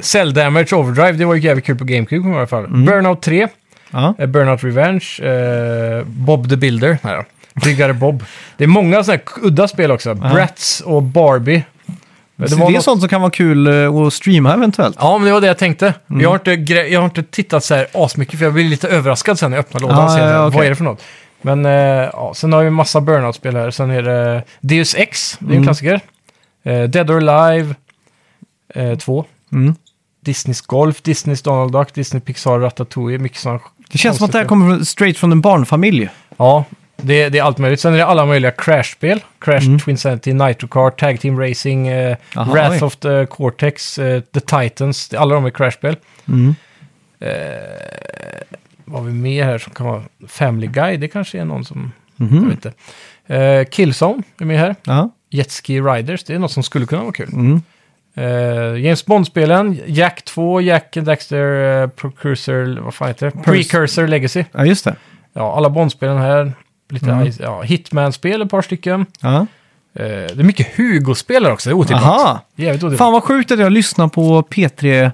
Cell Damage Overdrive, det var ju jävligt kul på GameCube i alla fall.
Mm.
Burnout 3,
Ja.
eh, Burnout Revenge, eh, Bob the Builder. Nej då. Byggare Bob. Det är många sådana här udda spel också. Bratz och Barbie. Men
Det,
var
är
något-
sånt som kan vara kul eh, att streama eventuellt.
Ja, men det var det jag tänkte.
Mm.
Jag, har inte gre- jag har inte tittat så här asmycket för jag blir lite överraskad sen när jag öppnar lådan
Ah,
och ser
ja, ja,
vad
okej.
är det för något. Men eh, ja, sen har vi en massa Burnout-spel här. Sen är det Deus Ex, det är ju en
Mm.
klassiker. Eh, Dead or Alive 2.
Mm.
Disneys Golf, Disneys Donald Duck, Disney Pixar, Ratatouille, mycket sådana.
Det känns som att det här kommer från- straight från en barnfamilj.
Ja, det, det är allt möjligt. Sen är det alla möjliga Crash-spel. Crash, Twin Sanity, Nitro Kart, Tag Team Racing, eh,
Mm. Aha,
Wrath
oj.
of the Cortex, eh, The Titans. Det- Alla de är Crash-spel.
Mm.
Vad har vi mer här som kan vara Family Guy? Det kanske är någon som... Jag
Mhm.
vet inte. Eh, Killzone är med här.
Ja.
Jet Ski Riders, det är något som skulle kunna vara kul.
Mm.
Eh, James Bond-spelen, Jack 2, Jack and Daxter, eh, Precursor, vad fan heter det? Precursor Legacy.
ja, just det.
Ja, alla Bond-spelen här. Lite
Mm.
ja, Hitman-spel, ett par stycken.
Ja.
Eh, det är mycket Hugo-spel här också, det är otippat.
Aha!
Jävligt otippat.
Fan vad sjukt att jag lyssnar på P3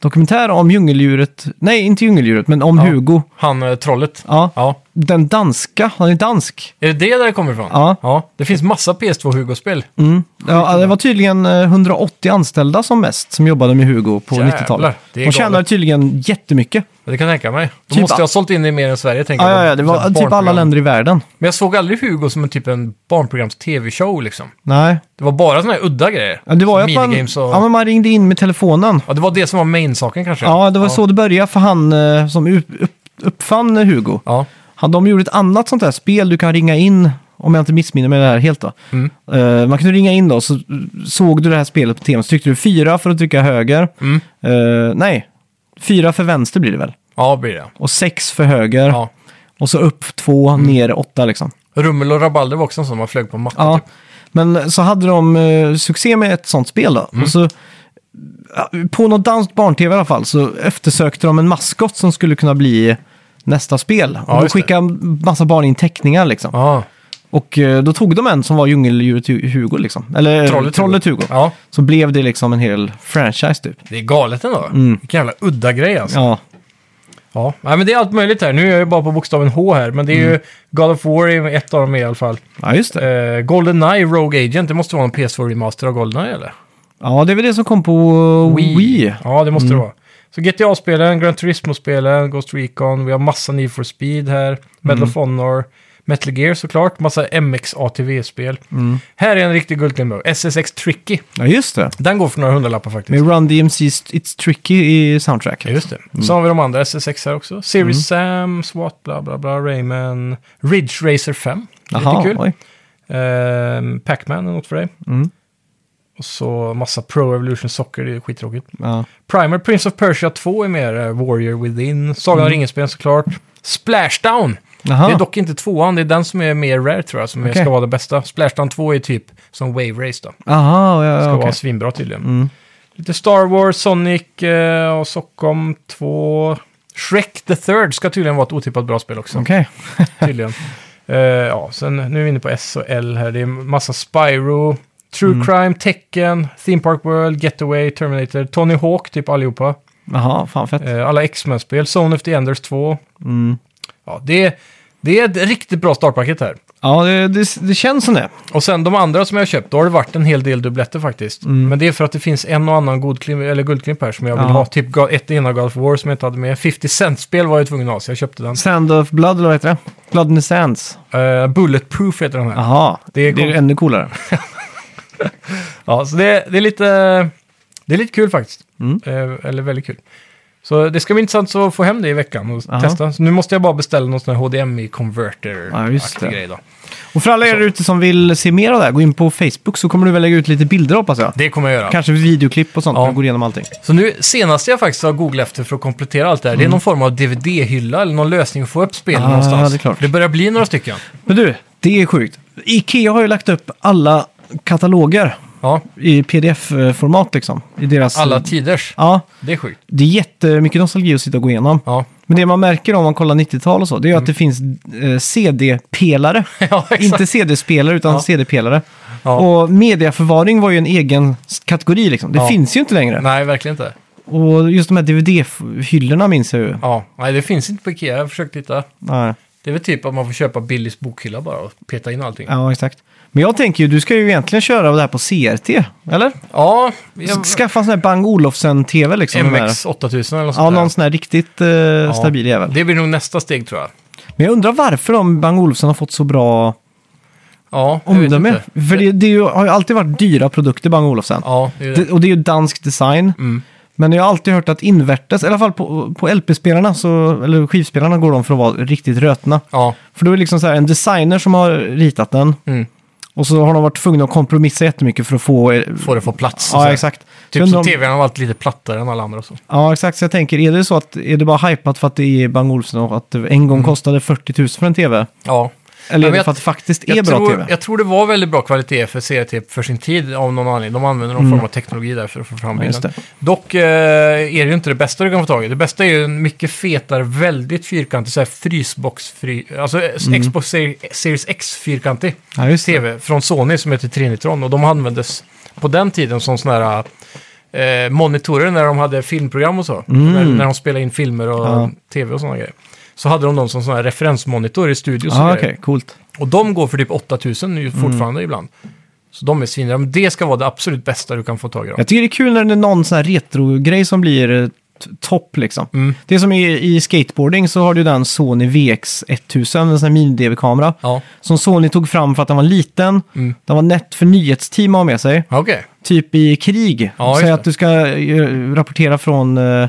Dokumentär om djungeldjuret. Nej, inte djungeldjuret, men om
Ja.
Hugo.
Han, eh, trollet.
Ja.
Ja.
Den danska, han är dansk.
Är det det där det kommer ifrån?
Ja.
ja. Det finns massa PS2 Hugo-spel.
Mm. Ja, det var tydligen eh, 180 anställda som mest som jobbade med Hugo på
Jävlar,
90-talet.
det är
De tjänade
galet.
tydligen jättemycket.
Ja, Det kan jag tänka mig. De
Typ
måste
all-
ha sålt in det mer än Sverige, tänker
Ja,
jag.
ja, ja, det
Så
var
här
typ alla
barnprogram.
länder i världen.
Men jag såg aldrig Hugo som en typ en barnprograms-tv-show, liksom.
Nej,
Det var bara såna här udda grejer.
ja, det var ju att man,
Minigames och...
ja, men man ringde in med telefonen.
Ja, det var det som var main-saken kanske.
Ja, det var så det började för han eh, som upp, upp, uppfann eh, Hugo.
Ja,
Han, de gjorde ett annat sånt där spel du kan ringa in, om jag inte missminner mig det här helt då.
Mm.
Eh, man kunde ringa in då, så eh, såg du det här spelet på tvn, så tryckte du fyra för att trycka höger.
Mm.
Eh, nej, fyra för vänster blir det väl?
ja blir det.
Och sex för höger.
Ja.
Och så upp två, ner åtta liksom.
Rummel och rabalder var också en sån man flög på mattan.
Ja.
Typ.
Men så hade de eh, succé med ett sånt spel då.
Mm.
Och så, ja, på något danskt barn-tv i alla fall så eftersökte de en maskot som skulle kunna bli nästa spel.
Ja,
och då
just det.
skickade en massa barn in teckningar liksom.
Ja,
Och eh, då tog de en som var djungeldjuret Hu- Hugo liksom. Eller eh,
Trollet
Trollet Hugo.
ja.
Så blev det liksom en hel franchise typ.
Det är galet ändå.
Mm.
Vilken jävla udda grej alltså. Ja.
Ja,
Nej, men det är allt möjligt här. Nu är jag ju bara på bokstaven H här, men det är ju God of War är ett av dem i alla fall.
ja just det.
Eh, Goldeneye, Rogue Agent, det måste vara en PS4-remaster av Goldeneye eller?
Ja, det är väl det som kom på Wii.
Ja, det måste det vara. Så GTA-spelen, Gran Turismo-spelen, Ghost Recon, vi har massa Need for Speed här, Medal of Honor, Metal Gear såklart, massa MX-ATV-spel. Här är en riktig guldklimbo, SSX Tricky.
Ja, just det.
Den går för några hundralappar faktiskt.
Med Run DMC's It's Tricky i
Ja,
soundtracket.
just det. Så har vi de andra SSX här också. Series
Mm.
Sam, SWAT, bla bla bla, Rayman, Ridge Racer 5.
Jaha,
Lite kul.
oj.
Ehm, Pac-Man är något för dig.
Mm.
Och så massa Pro Evolution Soccer, det är skittråkigt.
Ja.
Primer, Prince of Persia 2 är mer eh, Warrior Within. Sagan
Mm.
om ringen-spelen såklart. Splashdown!
Jaha.
Det är dock inte tvåan, det är den som är mer rare tror jag, som är-
Ah. Okej.
ska vara den bästa. Splashdown 2 är typ som Wave Race då. Ska
Aha, ja, ja, okej.
vara svinbra tydligen.
Mm.
Lite Star Wars, Sonic eh, och Stockholm 2. Shrek the Third ska tydligen vara ett otippat bra spel också.
Okej.
Tydligen. Eh, ja, sen nu är vi inne på S och L här. Det är massa Spyro, True
Mm.
Crime, Tekken, Theme Park World, Getaway, Terminator, Tony Hawk, typ allihopa.
Jaha, fan fett.
Eh, alla X-Men-spel, Zone of the Enders 2.
Mm.
Ja, det, är- det är ett riktigt bra startpaket här.
Ja, det, det, det känns som det.
Och sen de andra som jag har köpt, då har det varit en hel del dubbletter faktiskt. Men det är för att det finns en och annan godklim, eller guldklimp här som jag vill
Mm. Ja.
ha. Typ ga- ett ena God of War som jag inte hade med. 50 Cent-spel var jag tvungen att ha, så jag köpte den.
Sand of Blood, eller vad heter det? Blood in the Sands.
Eh, Bulletproof heter den här.
Jaha,
Det
det
är
är, det är
coolt.
ännu coolare.
Ja, så det, det, är lite, det är lite kul faktiskt.
Mm.
Eh, eller väldigt kul. Så det ska bli intressant att få hem det i veckan och
Aha.
testa. Så nu måste jag bara beställa någon sån här HDMI-converter.
Ja, just det.
Grej då.
Och för alla er ute som vill se mer av det här, gå in på Facebook så kommer du väl lägga ut lite bilder hoppas jag.
Det kommer jag göra.
Kanske videoklipp och sånt,
Ja.
ja. går igenom allting.
Så nu senast jag faktiskt har googlat efter för att komplettera allt det här, det är någon form av DVD-hylla eller någon lösning att få upp spelen
Mm. Ah,
någonstans.
det är klart.
det börjar bli några stycken.
Men du, det är sjukt. Ikea har ju lagt upp alla kataloger
Ja,
i pdf-format liksom. I deras...
alla tiders.
Ja,
Det är sjukt.
det är jättemycket nostalgi att sitta och gå igenom.
Ja,
Men det man märker om man kollar 90-tal och så, det är ju att det finns eh, CD-pelare.
Mm. ja exakt.
Inte CD-spelare utan
Ja.
CD-pelare.
Ja.
Och mediaförvaring var ju en egen s- kategori liksom. Det
Ja.
finns ju inte längre.
Nej, verkligen inte.
Och just de här DVD-hyllorna minns jag ju.
Ja, nej det finns inte på Ikea. Jag har försökt hitta.
Nej.
Det är väl typ att man får köpa Billys bokhylla bara och peta in allting.
Ja, exakt. Men jag tänker ju, du ska ju egentligen köra det här på CRT, eller?
Ja, jag,
Skaffa en sån här Bang Olufsen-TV liksom. de här.
MX 8000 eller något
Ja,
sånt där.
någon sån här riktigt eh, stabil jävel.
Det blir nog nästa steg tror jag.
Men jag undrar varför de Bang Olufsen har fått så bra
Ja, jag vet
omdöme.
inte.
För det, det är ju, har ju alltid varit dyra produkter, Bang Olufsen.
Ja, det är det.
Det, och det är ju dansk design.
Mm.
Men jag har alltid hört att invertes, i alla fall på, på LP-spelarna, så, eller skivspelarna, går de för att vara riktigt rötna.
Ja,
För då är det liksom så här en designer som har ritat den.
mm.
Och så har de varit tvungna att kompromissa jättemycket för att få... eh,
får det få plats. och så
ja,
här.
exakt. Så
Typ
undrar
så
om-
tvn har varit lite plattare än alla andra och så.
Ja, exakt. Så jag tänker, är det så att är det bara hypat för att det är Bang Olufsen och att det en gång kostade 40 000 för en tv?
Ja.
Eller är
Ja, Mm. men
det
jag-
för att det faktiskt är
jag,
bra
tror,
tv?
jag tror det var väldigt bra kvalitet för CRT för sin tid av någon anledning. De använder någon form av teknologi där för att få fram
Mm. Ja, just
bilden. Dock eh, är det ju inte det bästa du kan få tag i. Det bästa är ju en mycket fetare, väldigt fyrkantig, så här frysbox-fri, alltså eh, Xbox Seri- Series X-fyrkantig
Mm. Ja, just det.
tv från Sony som heter Trinitron. Och de användes på den tiden som sådana här eh, monitorer när de hade filmprogram och så. När, när de spelade in filmer och
Mm. Ja.
tv och sådana grejer. Så hade de dem som sådana här referensmonitor i studios och
Ja,
grejer.
okej. Coolt.
Och de går för typ 8000 nu
Mm.
fortfarande ibland. Så de är svindyra. Men det ska vara det absolut bästa du kan få tag i dem.
Jag tycker det är kul när det är någon sån här retro-grej som blir eh, t- topp liksom.
Mm.
Det är som i, i skateboarding så har du den Sony VX1000, en sån här mini-DV-kamera.
Ja,
Som Sony tog fram för att den var liten,
Mm.
den var nätt för nyhetsteam att ha med sig.
okej.
Typ i krig,
Ja, just
säg
det.
att du ska eh, rapportera från, eh,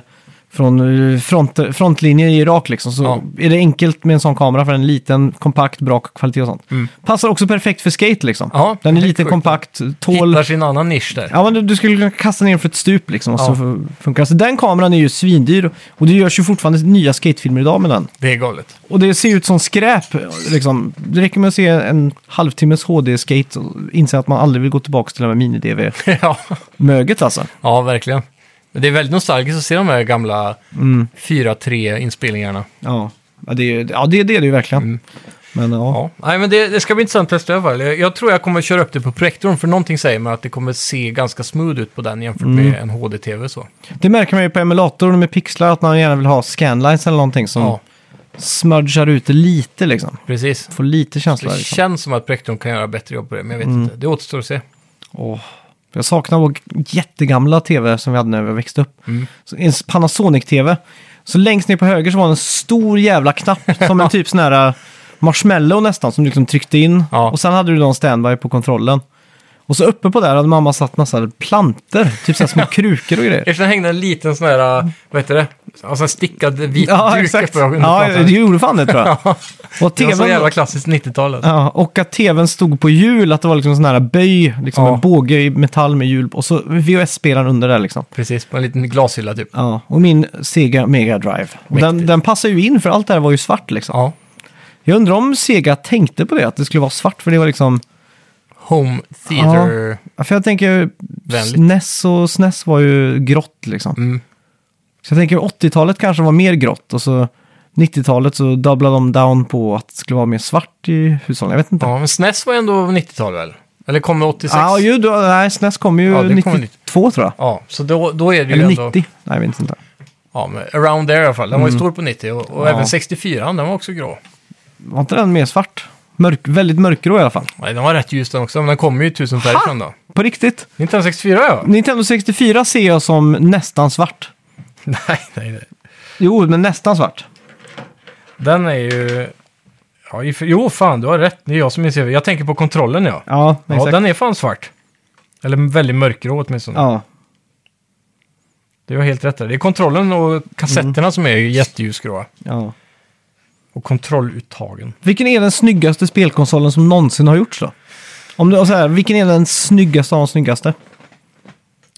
från eh, front, frontlinjen i Irak liksom. Så
Ja.
är det enkelt med en sån kamera för en liten, kompakt, bra kvalitet och sånt. Passar också perfekt för skate liksom.
Mm. Ja,
den är
helt
liten,
sjukt.
kompakt, tål...
Hittar sin annan nisch där.
Ja, men du, du skulle kunna kasta ner den för ett stup liksom och
Ja.
så fu- funkar det. Så den kameran är ju svindyr och det görs ju fortfarande nya skatefilmer idag med den.
Det är galet.
Och det ser ut som skräp liksom. Det räcker med att se en halvtimmes HD-skate och inse att man aldrig vill gå tillbaka till det här mini-DV-möget
ja.
alltså.
ja, verkligen. Men det är väldigt nostalgiskt att se de här gamla
Mm.
4-3-inspelningarna.
Ja, ja det är ja, det, är det är det ju verkligen. Men ja.
Ja. Nej, men det, det ska bli intressant att testa i alla fall. Jag, jag tror jag kommer köra upp det på projektorn, för någonting säger mig att det kommer se ganska smooth ut på den
Mm.
jämfört med en HD-TV. Så.
det märker man ju på emulatorn med pixlar att man gärna vill ha scanlines eller någonting som
Ja,
smudgar ut det lite liksom.
precis.
Får lite känsla.
Det
Liksom. Mm.
känns som att projektorn kan göra bättre jobb på det, men jag vet inte. Det återstår att se.
Åh, Jag saknar vår jättegamla tv som vi hade när vi växte upp.
Mm.
Så- En Panasonic-tv. Så längst ner på höger så var det en stor jävla knapp som en typ sån här äh, marshmallow nästan som du liksom tryckte in.
Ja.
Och sen hade du någon standby på kontrollen. Och så uppe på där hade mamma satt massa planter, typ så här små krukor och grejer.
Eftersom det hängde en liten sån här, äh, vad heter det, alltså en stickad vit
Ja,
duk
exakt.
uppe under
Ja,
plattan.
det gjorde fan det tror jag. Och
Det var så
tvn
jävla klassiskt 90-tal. Alltså.
Ja, och att tvn stod på hjul, att det var liksom sån här böj, liksom
Ja.
en båge i metall med hjul och så VHS-spelaren under där liksom.
Precis, på en liten glashylla typ.
Ja, och min Sega Mega Drive. Och Den,
Mäktigt.
den passar ju in för allt det här var ju svart liksom.
Ja.
Jag undrar om Sega tänkte på det, att det skulle vara svart för det var liksom...
Home Theater.
Ja, För jag tänker,
Vänligt.
SNES och SNES var ju grått liksom.
Mm.
Så jag tänker 80-talet kanske var mer grått och så 90-talet så dubblade de down på att det skulle vara mer svart i hushållen. Jag vet inte.
Ja, men SNES var ändå 90-tal väl? Eller kom det 86?
Ja, ju, då, nej, SNES kom ju
Ja, det kom
92 tror jag.
Ja, så då, då är det ju
Eller
ändå...
90. Nej, jag vet inte.
Ja, men around Mm. there i alla fall. Den var ju stor på 90 och, och
Ja.
även 64 den var också grå.
Var inte den mer svart? Mörk, väldigt mörkgrå i alla fall.
Nej, den var rätt ljus den också, men den kommer ju i tusen färger från då.
På riktigt.
1964 ja.
Nintendo 64 ser jag som nästan svart.
nej, nej, nej.
Jo, men nästan svart.
Den är ju... Ja, i- jo, fan, du har rätt. Det är jag som är CV. Jag tänker på kontrollen, ja.
Ja,
Ja,
exakt.
den är fan svart. Eller väldigt mörkgrå åtminstone.
Ja.
Det var helt rätt där. Det är kontrollen och kassetterna
Mm.
som är ju jätteljusgråa.
ja.
Och kontrolluttagen.
Vilken är den snyggaste spelkonsolen som någonsin har gjorts då? Om du, så här, vilken är den snyggaste av de snyggaste?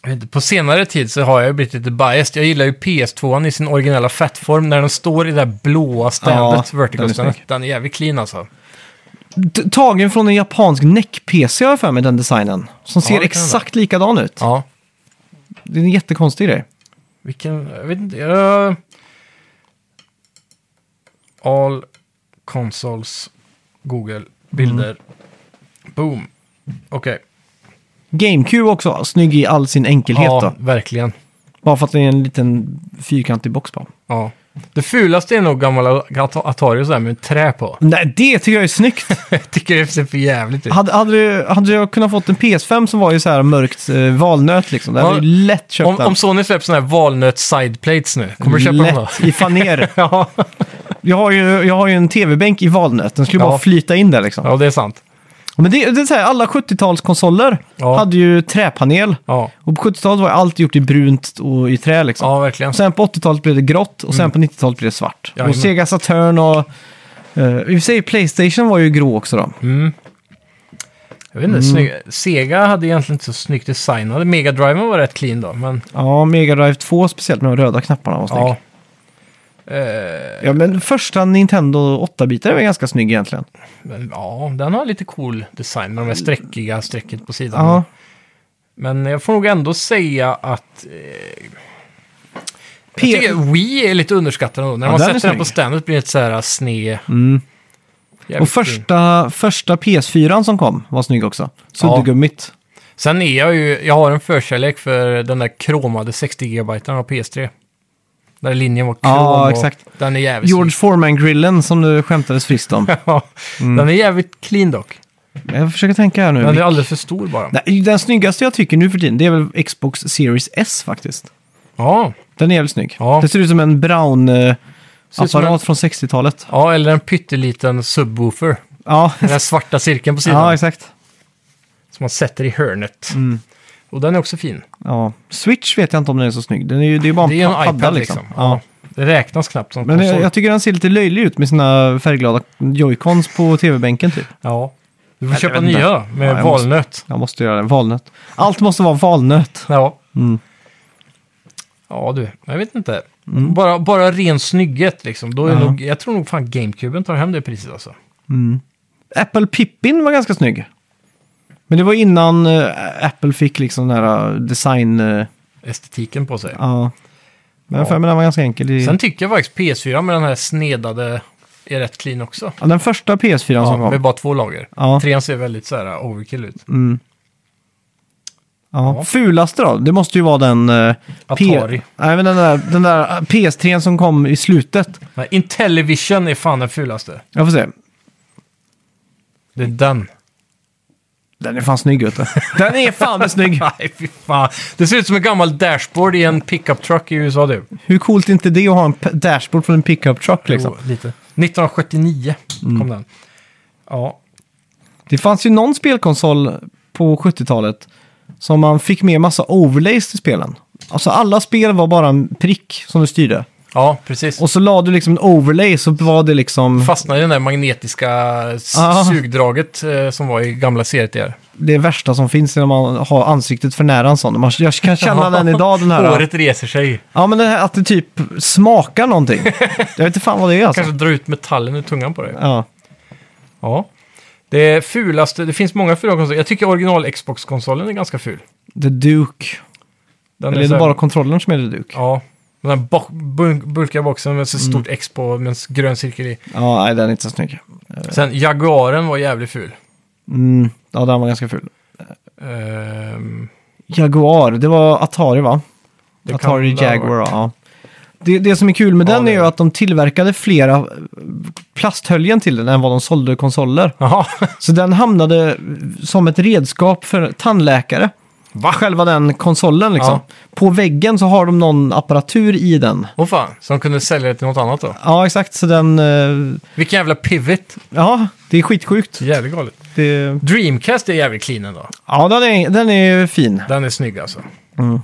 Jag vet inte, På senare tid så har jag ju blivit lite biased. Jag gillar ju PS2 an i sin originella fettform när den står i det där blåa ständet,
Ja,
vertical
den är
ständet.
snygg.
Den är jävligt clean alltså.
T- Tagen från en japansk NEC-PC har jag för mig, den designen. Som
det
ser
kan
exakt likadan ut.
Ja,
Det är en jättekonstig grej.
vilken... Jag vet inte. jag- all consoles, Google, bilder.
Mm.
Boom. Okej.
GameCube också, snygg i all sin enkelhet
Ja,
då.
verkligen.
Bara för att det är en liten fyrkantig box på.
Ja. Det fulaste är nog gamla At- Atari och sådär med trä på.
Nej, det tycker jag är snyggt!
Jag tycker det ser för jävligt ut.
hade, hade, du- hade jag kunnat fått en PS5 som var ju så här mörkt eh, valnöt liksom. Det hade
Ja.
ju lätt köpt
Om,
den.
om Sony släpper sådana här valnöt-sideplates nu, kommer du köpa dem då?
lätt i faner.
Ja.
Jag har ju, jag har ju en tv-bänk i valnöt. Den skulle
Ja.
bara flyta in där liksom.
ja, det är sant.
Men det, det är så här, alla 70-talskonsoler
Ja.
hade ju träpanel.
Ja,
Och på 70-talet var ju allt gjort i brunt och i trä liksom.
ja Mm. verkligen.
Och sen på 80-talet blev det grått och sen på 90-talet blev det svart.
Jajamän.
och Sega Saturn och... Uh, I och för sig Playstation var ju grå också då.
Mm. Jag vet inte, snygg. Sega hade egentligen inte så snyggt designade. Mega Driven var rätt clean då, men
Ja, Mega Drive 2 speciellt med de röda knapparna var snygg.
ja.
Ja.
Eh,
men första Nintendo 8-bitaren var ganska snygg egentligen.
men, ja, den har lite cool design med de här sträckiga strecket på sidan.
Ja,
Men jag får nog ändå säga att... Eh,
P-
jag tycker Wii är lite underskattad ändå. När
Ja,
man
den är
sätter den på
snygg. Mm.
ständet blir det ett så här ah, sned... Jävligt
och
fin.
första, första PS4 som kom var snygg också. Suddgummit.
Sen är jag ju... Jag har en förkärlek för den där kromade 60 GB av PS3. Där linjen var krom
Ja,
och
exakt.
Den är jävligt
George Foreman-grillen som du skämtades friskt om.
snygg. Ja,
Mm.
Den är jävligt clean dock.
jag försöker tänka här nu.
Den är alldeles för stor bara.
Nej, den snyggaste jag tycker nu för tiden det är väl Xbox Series S faktiskt.
Ja.
Den är jävligt snygg.
Ja.
Det ser ut som en brown eh,
ut som
apparat
en-
från 60-talet.
ja, eller en pytteliten subwoofer.
Ja,
Den här svarta cirkeln på sidan
ja exakt. Mm.
som man sätter i hörnet. Och den är också fin.
Ja. Switch vet jag inte om den är så snygg. Den är ju, det är ju bara en,
Det är en
padda
iPad liksom.
liksom.
Ja. Det räknas knappt som
Men
konsol.
jag, jag tycker den ser lite löjlig ut med sina färgglada joycons på tv-bänken typ.
Ja. Du får köpa
vet inte.
nya då, med
Ja, jag måste-
valnöt.
Jag måste göra det. Valnöt. Allt måste vara valnöt.
Ja.
Mm.
Ja du, jag vet inte. Bara, bara ren snygghet liksom. Då är
Mm. Ja.
nog, jag tror nog fan GameCuben tar hem det priset alltså.
Apple Pippin var ganska snygg. Men det var innan eh, Apple fick liksom den här eh, design... eh,
Estetiken på sig.
ja. Men
Ja.
jag för mig den var ganska enkel. I,
Sen tycker jag faktiskt PS4 med den här snedade är rätt clean också.
ja, den första PS4 som
Ja,
kom.
med bara två lager.
Ja.
Trean ser väldigt så här overkill ut.
Mm. Ja.
Ja.
Fulaste då? Det måste ju vara den... eh,
Atari.
Nej, men den där, den där eh, PS3 som kom i slutet.
Nej, Intellivision är fan den fulaste.
Jag får se.
Det är den.
Den är fan snygg vet du. Den är fan snygg.
Nej, fy fan. Det ser ut som en gammal dashboard i en pickup truck i USA du.
Hur coolt är inte det att ha en p- dashboard från en pickup truck liksom?
Jo, lite. Mm. 1979 kom den. Ja,
Det fanns ju någon spelkonsol på 70-talet som man fick med massa overlays till spelen. Alltså alla spel var bara en prick som du styrde.
ja precis.
Och så la du liksom en overlay så var det liksom
fastnade i det där magnetiska s-
Ja.
sugdraget eh, som var i gamla seriet där.
det värsta som finns när man har ansiktet för nära en sån. Man, jag kan känna den idag den här.
Håret reser sig.
Ja men det här, att det typ smakar någonting. jag vet inte fan vad det är alltså.
Kanske drar ut metallen ur tungan på dig.
Ja.
Ja. Det fulaste, det finns många fula konsoler. Jag tycker original Xbox-konsolen är ganska ful.
The Duke.
Den
Eller är
så
det
här-
bara kontrollen som är The Duke? Ja,
Ja. Den här bo- bun- bulkiga boxen med så stort X på med en s- grön cirkel i.
nej den är inte så snygg.
Sen Jaguaren var jävligt ful.
Mm. Ja den var ganska ful.
Ehm,
Jaguar, det var Atari va?
det kan-
Atari
Ehm, det har
Jaguar, ja. Det, det som är kul med
Ja,
den
det
är ju
är det.
att de tillverkade flera eh, plasthöljen till den än vad de sålde konsoler.
Jaha,
Så den hamnade som ett redskap för tandläkare.
va?
Själva den konsolen liksom. På väggen så har de någon apparatur i den.
Åh fan, så de kunde sälja det till något annat då?
Ja, exakt. Så den... eh,
Vilken jävla pivot.
Ja, det är skitsjukt.
Jävligt galet.
Det,
Dreamcast är jävligt clean ändå.
ja, den är, den är fin.
Den är snygg alltså.
Mm.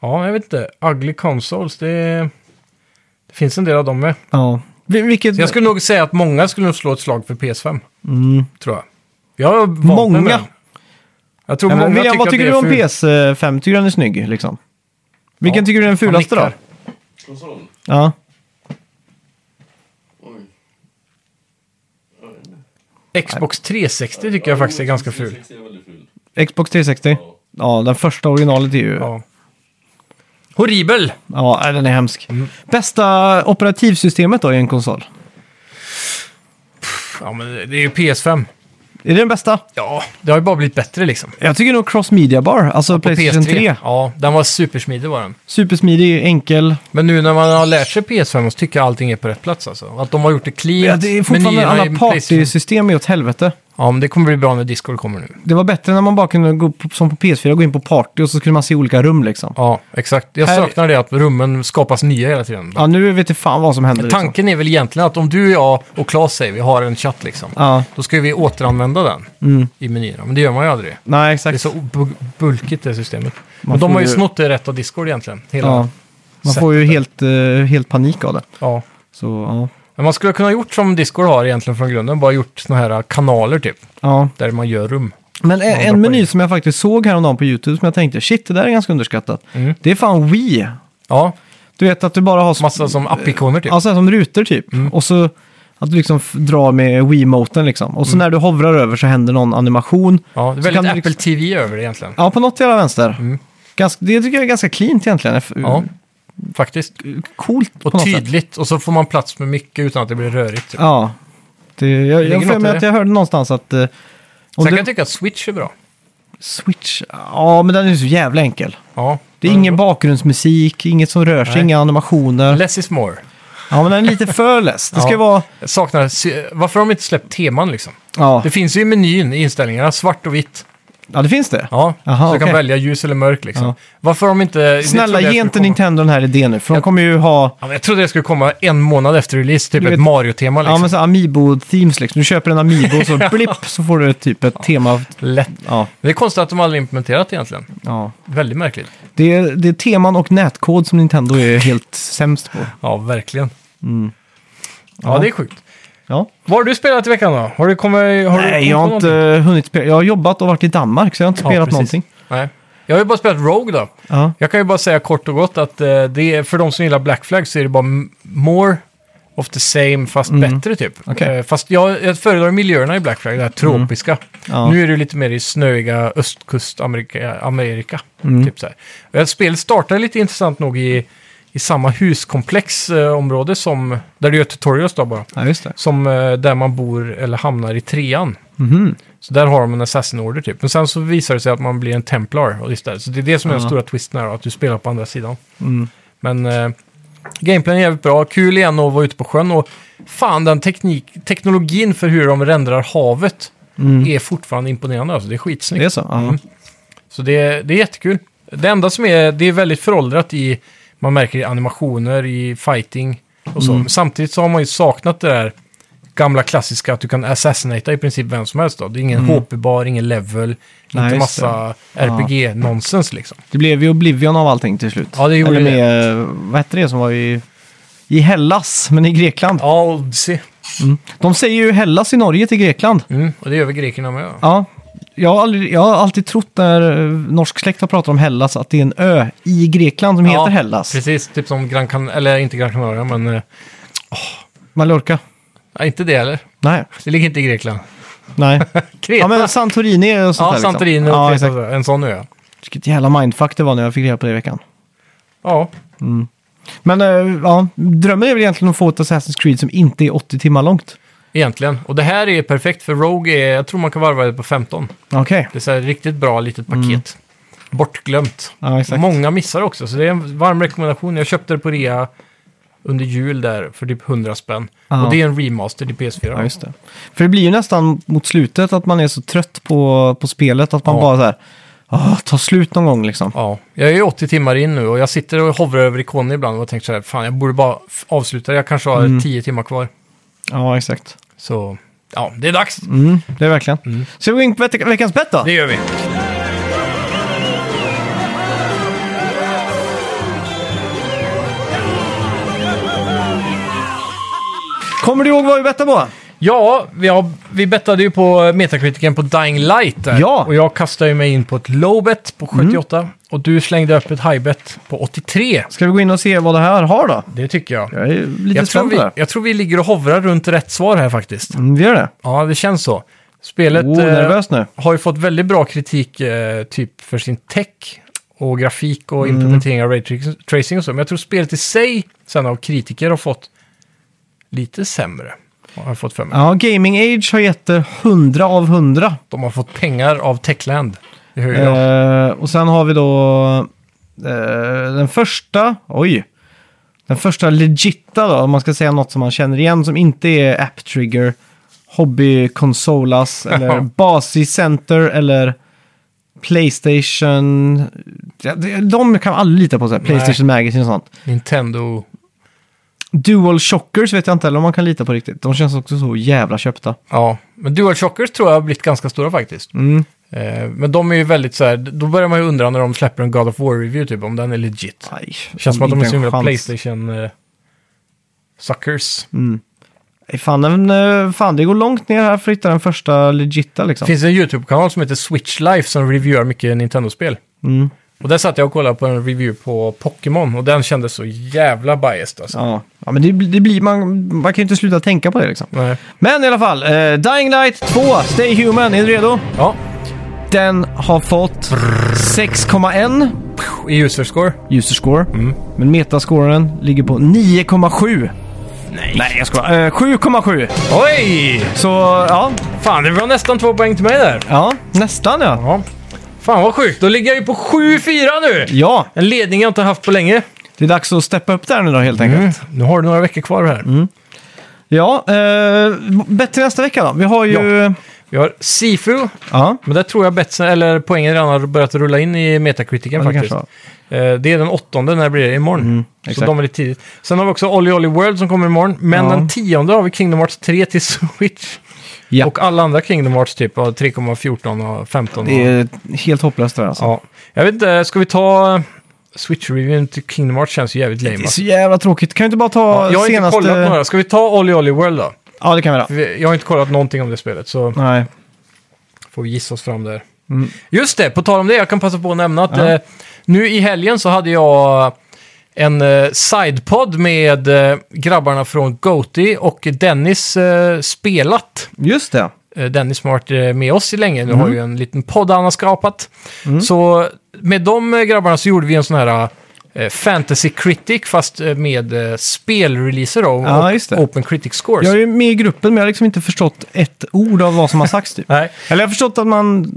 Ja, jag vet inte. Ugly Consoles, det... det finns en del av dem med.
Ja. Vil- Vilket...
Så jag skulle nog säga att många skulle nog slå ett slag för PS5.
Mm.
Tror jag. Jag har vant mig
Många?
med den. Jag tror
Ja, men
många
William, vad
att
tycker
det
du
är
om
fult.
PS5? Tycker du den är snygg? Liksom? Vilken
Ja,
tycker du är den
han
fulaste då?
nickar.
Konsol?
Ja.
Oj. Jag vet inte.
Xbox 360 tycker jag faktiskt är ganska ful.
360 är väldigt ful.
Xbox 360?
Ja.
Ja, den första originalet är ju... Ja,
Ja. Horribel!
nej, den är hemsk. Bästa operativsystemet då i en konsol?
Ja, men det är ju PS5.
Är det den bästa?
Ja, det har ju bara blivit bättre liksom.
Jag tycker nog Cross Media Bar, alltså
På
Playstation 3.
Ja, den var supersmidig var den.
Supersmidig, enkel.
Men nu när man har lärt sig PS5 så tycker jag allting är på rätt plats alltså. Att de har gjort det clean.
Ja, det är fortfarande
menyerna i
alla
PlayStation-
partysystem är åt helvete.
Ja, men det kommer bli bra när Discord kommer nu.
Det var bättre när man bara kunde gå på, som på PS4, gå in på party och så skulle man se olika rum liksom.
Ja, exakt. Jag
Här-
saknar det att rummen skapas nya hela tiden.
Ja, nu vet jag fan vad som händer. Liksom.
Tanken är väl egentligen att om du, jag och Claes säger vi har en chatt liksom.
Ja,
Då ska vi återanvända den
Mm.
i menyerna. Men det gör man ju aldrig.
nej
Det är
exakt.
så bu- bulkigt det systemet.
Man
Men de
får
har ju
ju-
snott det rätt av Discord egentligen. Hela.
Ja.
Ja.
Man får ju helt, eh, helt panik av det. Så ja.
Men man skulle kunna ha gjort som Discord har egentligen från grunden. Bara gjort såna här kanaler typ.
ja.
Där man gör rum.
Men en,
droppar
en meny
in.
som jag faktiskt såg häromdagen på YouTube som jag tänkte shit, det där är ganska underskattat.
Mm.
Det är fan Wii.
Ja,
Du vet att du bara har som,
massa som appikoner typ. Mm.
ja, så här som rutor typ. Och så att du liksom f- drar med Wii-moten liksom. Och så när du hovrar över så händer någon animation.
Mm. Ja, det är
Så kan
väldigt
du
Apple
liksom-
TV över det egentligen.
Ja, på något jävla vänster.
Mm.
Ganska, det tycker jag är ganska cleant egentligen. F-
Ja, faktiskt.
Coolt Alltså, på
Och
något sätt.
tydligt. Och så får man plats med mycket utan att det blir rörigt. Typ.
Ja. Det, jag jag,
ligger
för
något i
mig att
det.
jag hörde någonstans att... eh, om
Sen kan
du,
jag tycka att Switch är bra.
Switch... Ja, men den är ju så jävla enkel.
Ja.
Det är ingen bakgrundsmusik, inget som rör sig,
Nej.
inga animationer.
Less is more.
Ja, men den är lite för less. Det ska
Ja.
vara...
Jag saknar... sy- Varför har de inte släppt teman liksom?
Ja.
Det finns ju i menyn i inställningarna, svart och vitt.
ja, det finns det.
Ja,
Aha,
så du
okej.
kan välja ljus eller mörk liksom.
Ja.
Varför har de inte... det
Snälla,
trodde jag
ge
skulle
inte
komma.
Nintendo den här idén nu, för de kommer ju ha...
Ja, men jag trodde det skulle komma en månad efter release, typ
Du vet-
ett Mario-tema
Ja,
liksom.
men så Amiibo-themes liksom. Du köper en Amiibo och så blipp så får du typ ett tema.
Lätt.
Ja,
Det är konstigt att de aldrig implementerat det egentligen.
ja.
Väldigt märkligt.
Det är, det är teman och nätkod som Nintendo är helt sämst på.
Ja, verkligen. Mm. Ja,
Ja.
det är sjukt.
Ja.
Vad har du spelat i veckan då? Har du kommit... Har du
Nej,
kommit
jag
på
har inte
någonting?
hunnit spela. Jag har jobbat och varit i Danmark så jag har inte
Ja,
spelat
precis.
någonting.
Nej. Jag har ju bara spelat Rogue då.
Ja.
Jag kan ju bara säga kort och gott att eh, det är, för de som gillar Black Flag så är det bara m- more of the same fast bättre typ.
Mm. Okej. Mm.
Eh, fast jag, jag föredrar miljöerna i Black Flag, det här tropiska.
Ja.
Nu är det ju lite mer i snöiga östkustamerika. Amerika,
Mm.
typ så här. Eh, Spelet startar lite intressant nog i, i samma huskomplex eh, område som, där du gör tutorials då bara,
ja, just det.
som eh, där man bor eller hamnar i trean.
Mhm.
Så där har de en assassin order typ. Men sen så visar det sig att man blir en templar och istället. Så det är det som är
Ja.
den stora twisten här, att du spelar på andra sidan.
Mm.
Men eh, gameplayen är jävligt bra, kul igen att vara ute på sjön och fan den teknik, teknologin för hur de rendrar havet
Mm.
är fortfarande imponerande. Alltså, det är skitsnyggt.
Det är så? Ja.
Mm. Så det, det är jättekul. Det enda som är, det är väldigt föråldrat i, man märker i animationer, i fighting och så. Men samtidigt så har man ju saknat det där gamla klassiska att du kan assassinata i princip vem som helst då. Det är ingen HP-bar, ingen level,
Nej,
inte
just det.
massa RPG-nonsens liksom.
Det blev ju Oblivion av allting till slut.
Ja, det gjorde
Eller med, det. vad hette det som var i, i Hellas, men i Grekland.
Ja, Odyssey.
De säger ju Hellas i Norge till Grekland.
Mm, och det gör väl grekerna med. Ja.
Ja. Jag har, aldrig, jag har alltid trott när eh, norsk släkt har pratat om Hellas att det är en ö i Grekland som
Ja,
heter Hellas.
Precis, typ som Gran Can eller inte Gran Canaria, men eh,
Mallorca.
nej, inte det heller.
Nej.
Det ligger inte i Grekland.
Nej.
Kreta.
Ja, men Santorini och sånt
ja,
där. liksom.
Santorini och
ja,
Kreta,
exakt.
en sån ö.
Vilket jävla mindfuck det var när jag fick reda på det i veckan.
Ja,
Men eh, ja, drömmen är väl egentligen att få ett Assassin's Creed som inte är 80 timmar långt.
Egentligen. Och det här är perfekt för Rogue är, jag tror man kan varva det på 15.
Okej.
Det är så här riktigt bra litet paket. bortglömt.
Ja, Mm. exakt.
Många missar också, så det är en varm rekommendation. Jag köpte det på rea under jul där för typ 100 spänn.
Ja.
Och det är en remaster till PS4.
Ja, just det. För det blir ju nästan mot slutet att man är så trött på, på spelet att man
Ja.
bara så här, "Ah, ta slut någon gång liksom.
Ja, jag är ju 80 timmar in nu och jag sitter och hovrar över ikoner ibland och tänker så här, fan jag borde bara f- avsluta, jag kanske
Mm.
har 10 timmar kvar.
Ja, exakt.
Så, ja, det är dags.
Mm, det är verkligen. Ska vi gå in på veck- veckans bett då?
Det gör vi.
Kommer du ihåg vad vi bettade på?
Ja, vi, har, vi bettade ju på eh, metakritiken på Dying Light där.
Ja. Mm.
Och jag kastade ju mig in på ett low bet på 78 och du slängde upp ett high bet på 83.
Ska vi gå in och se vad det här har då?
Det tycker jag.
Jag är lite
Jag tror,
spänd på
vi,
det. här.
jag tror vi ligger och hovrar runt rätt svar här faktiskt.
Mm, vi gör det.
Ja, det känns så. Spelet
Oh,
eh,
nervös nu.
har ju fått väldigt bra kritik eh, typ för sin tech och grafik
Mm.
och implementering av ray tra- tracing och så. Men jag tror spelet i sig sen av kritiker har fått lite sämre. Har jag fått för mig.
Ja, Gaming Age har gett det 100 av 100.
De har fått pengar av Techland. Det hör jag.
Eh, och sen har vi då eh, den första, oj, den första legitta då, om man ska säga något som man känner igen som inte är App Trigger, Hobby Consolas eller Basi Center eller Playstation. Ja, det- De kan man aldrig lita på, så här, Playstation Magazine och sånt.
Nintendo.
Dual Shockers vet jag inte heller om man kan lita på riktigt. De känns också så jävla köpta.
Ja, men Dual Shockers tror jag har blivit ganska stora faktiskt. Eh, men de är ju väldigt så här, då börjar man ju undra när de släpper en God of War-review typ, om den är legit.
Nej,
Känns som att de är
inte
så
en
himla
chans.
Playstation eh, suckers.
Nej, Mm. Fan, den, eh, fan, det går långt ner här för att hitta den första legitta liksom.
Det finns en YouTube-kanal som heter Switch Life som reviewar mycket Nintendo-spel.
Mm.
Och där satt jag och kollade på en review på Pokémon och den kändes så jävla biased alltså.
Ja, ja men det, bli- det blir, man, man kan ju inte sluta tänka på det liksom.
Nej.
Men i alla fall, eh, Dying Light 2, Stay Human, är du redo?
Ja,
Den har fått 6,1
i user score.
user score. Men metascoren ligger på 9,7. Nej. Nej, jag skojar. Eh, 7,7.
Oj!
Så ja,
Fan, det var nästan två poäng till mig där.
ja, nästan ja.
Ja. Fan vad sjukt, då ligger jag ju på 7-4 nu!
Ja,
En ledning jag inte haft på länge.
det är dags att steppa upp där nu då helt enkelt.
Nu har du några veckor kvar här.
Mm. Ja, eh, bett till nästa vecka då. Vi har ju... Ja.
Vi har Sifu, men där tror jag betsen, eller poängen redan har börjat rulla in i metakritiken
Ja, det
faktiskt.
kanske Mm,
Eh, Det är den åttonde, när det blir det imorgon. så
exakt.
de är lite tidigt. Sen har vi också Olly Olly World som kommer imorgon. Men
Ja.
den tionde har vi Kingdom Hearts 3 till Switch.
Ja.
Och alla andra Kingdom Hearts typ, av 3,14 och 15.
Det
Och,
är helt hopplöst det där alltså.
ja. Jag vet inte, ska vi ta Switch-reviewen till Kingdom Hearts känns ju jävligt lame.
Det är
alltså.
så jävla tråkigt. Kan du inte bara ta
Ja, jag har
senaste...
inte kollat på några. Ska vi ta Olly Olly World då?
Ja, det kan vi göra.
För vi- Jag har inte kollat någonting om det spelet, så
Nej.
får vi gissa oss fram där.
Mm.
Just det, på tal om det, jag kan passa på att nämna att eh, nu i helgen så hade jag en eh, sidepod med eh, grabbarna från Goti och Dennis eh, spelat.
Just det.
Eh, Dennis som har varit eh, med oss i länge,
Mm.
nu har ju en liten podd han har skapat. Så med de eh, grabbarna så gjorde vi en sån här eh, Fantasy Critic fast eh, med eh, spelreleaser då, och
Ja, just det.
Open Critic Scores.
Jag är ju med i gruppen men jag har liksom inte förstått ett ord av vad som har sagts. Typ.
Nej.
Eller jag har förstått att man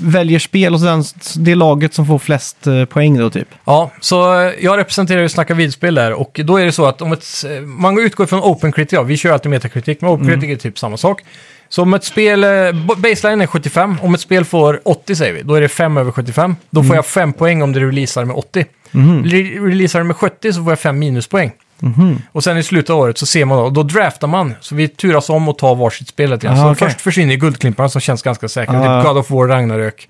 väljer spel och sen det laget som får flest eh, poäng då typ.
Ja, så eh, jag representerar ju Snacka vidspel där och då är det så att om ett, eh, man utgår från OpenCritic, ja, vi kör alltid metakritik, men OpenCritic
Mm.
är typ samma sak. Så om ett spel, eh, b- baseline är 75, om ett spel får 80 säger vi, då är det 5 över 75. Då
Mm.
får jag 5 poäng om det releasar med 80.
Mm-hmm.
Re- Releasar det med 70 så får jag 5 minuspoäng. Och sen i slutet av året så ser man då, då draftar man, så vi turas om och tar varsitt spel lite grann.
Ah,
så
okej.
först försvinner ju guldklimparna som känns ganska säkra,
Ah.
typ God of War, Ragnarök.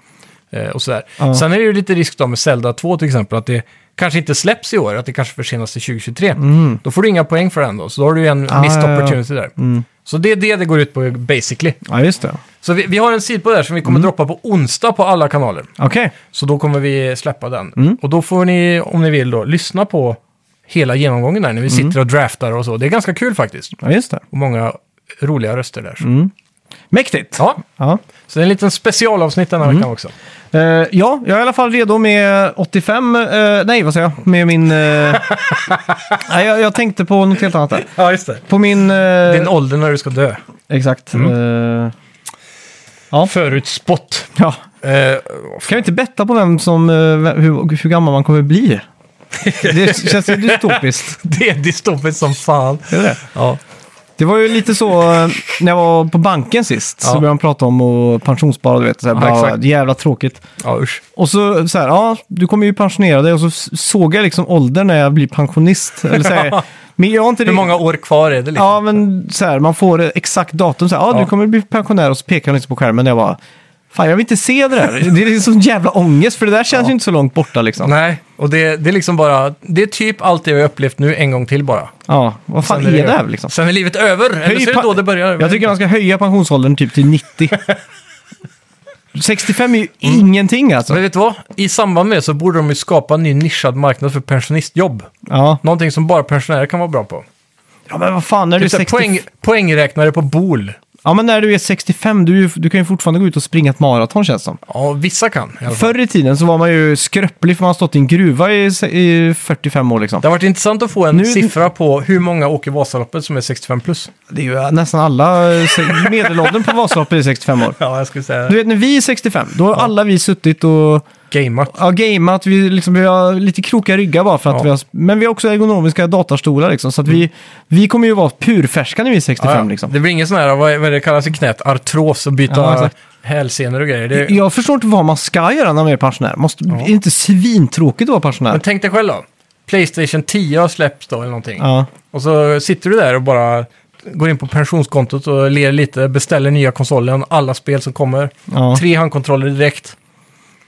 Eh, och sådär.
Ja.
Sen är det ju lite risk då med Zelda 2 till exempel, att det kanske inte släpps i år, att det kanske försenas till 2023. Då får du inga poäng för den då, så då har du ju en
Mm. Ah,
missed
ja, Mm. ja.
opportunity där. Så det är det det går ut på basically.
Ja, just det.
Så vi, vi har en sida på där som vi
Mm.
kommer droppa på onsdag på alla kanaler.
Okej.
Så då kommer vi släppa den.
Mm.
Och då får ni, om ni vill då, lyssna på hela genomgången där
Mm.
när vi sitter och draftar och så. Det är ganska kul faktiskt.
Ja, just det.
Och många roliga röster där. så.
Mm. Mäktigt.
Ja,
Ja.
så det är en liten specialavsnitt den här veckan också.
Eh, ja, jag är i alla fall redo med 85, eh, nej vad säger jag, med min... eh, nej, jag, jag tänkte på något helt annat där.
Ja, just det.
På min... eh,
Din ålder när du ska dö.
Exakt. eh,
Förutspått.
ja.
Eh,
Kan vi inte betta på vem som, eh, vem- hur, hur gammal man kommer bli? Det känns ju dystopiskt.
det är dystopiskt som fan.
Är det?
Ja.
Det var ju lite så eh, när jag var på banken sist. Så
Ja.
började de prata om och pensionsspara, du vet. Så här,
Ja,
bara,
exakt.
jävla tråkigt.
ja, usch.
Och så, så här, ja, du kommer ju pensionera dig. Och så s- såg jag liksom åldern när jag blir pensionist. Eller så här, men jag har inte
Hur
rikt-
många år kvar är det liksom?
Ja, men så här, man får ett exakt datum. Så här, ja,
Ja.
du kommer bli pensionär och så pekar han liksom på skärmen. Och jag bara, fan jag vill inte se det där. Det är liksom sån jävla ångest, för det där känns ju inte så långt borta liksom.
Nej, och det, det är liksom bara, det är typ allt det jag har upplevt nu en gång till bara.
Ja, vad fan
Sen
är det
över.
här liksom?
Sen är livet över, eller
Höj
så är det
pa-
då det börjar.
Jag tycker man ska höja pensionsåldern typ till 90. 65 är ju ingenting alltså.
Men vet du vad? I samband med så borde de ju skapa en ny nischad marknad för pensionistjobb.
Ja.
Någonting som bara pensionärer kan vara bra på.
ja, men vad fan när du är
Typ så här
60...
poäng, poängräknare på bol.
Ja, men när du är 65, du, är ju- du kan ju fortfarande gå ut och springa ett maraton känns det som.
Ja, vissa kan i alla fall.
Förr i tiden så var man ju skröplig för man har stått i en gruva i, se- i 45 år liksom.
Det har varit intressant att få en
Nu-
siffra på hur många åker Vasaloppet som är 65 plus.
Det är ju äh, nästan alla, eh, se- medelåldern på Vasaloppet är 65 år.
Ja, jag skulle säga
Du vet när vi är 65, då har alla vi suttit och
gameat.
ja, gameat, vi, liksom, vi har lite krokiga ryggar bara för att
Ja.
vi har, men vi har också ergonomiska datorstolar liksom, så att vi, vi kommer ju vara purfärska när vi är 65
Ja, ja.
liksom.
Det blir ingen sån här, vad vad är det kallas i knät, artros och byta
Ja, exakt.
hälsenor och grejer. Det,
Jag förstår inte vad man ska göra när man är pensionär. Måste, Är det inte svintråkigt att vara pensionär?
Men tänk dig själv då. Playstation 10 har släppts då eller någonting.
Ja.
Och så sitter du där och bara går in på pensionskontot och ler lite, beställer nya konsolen, alla spel som kommer.
Ja.
Tre handkontroller direkt.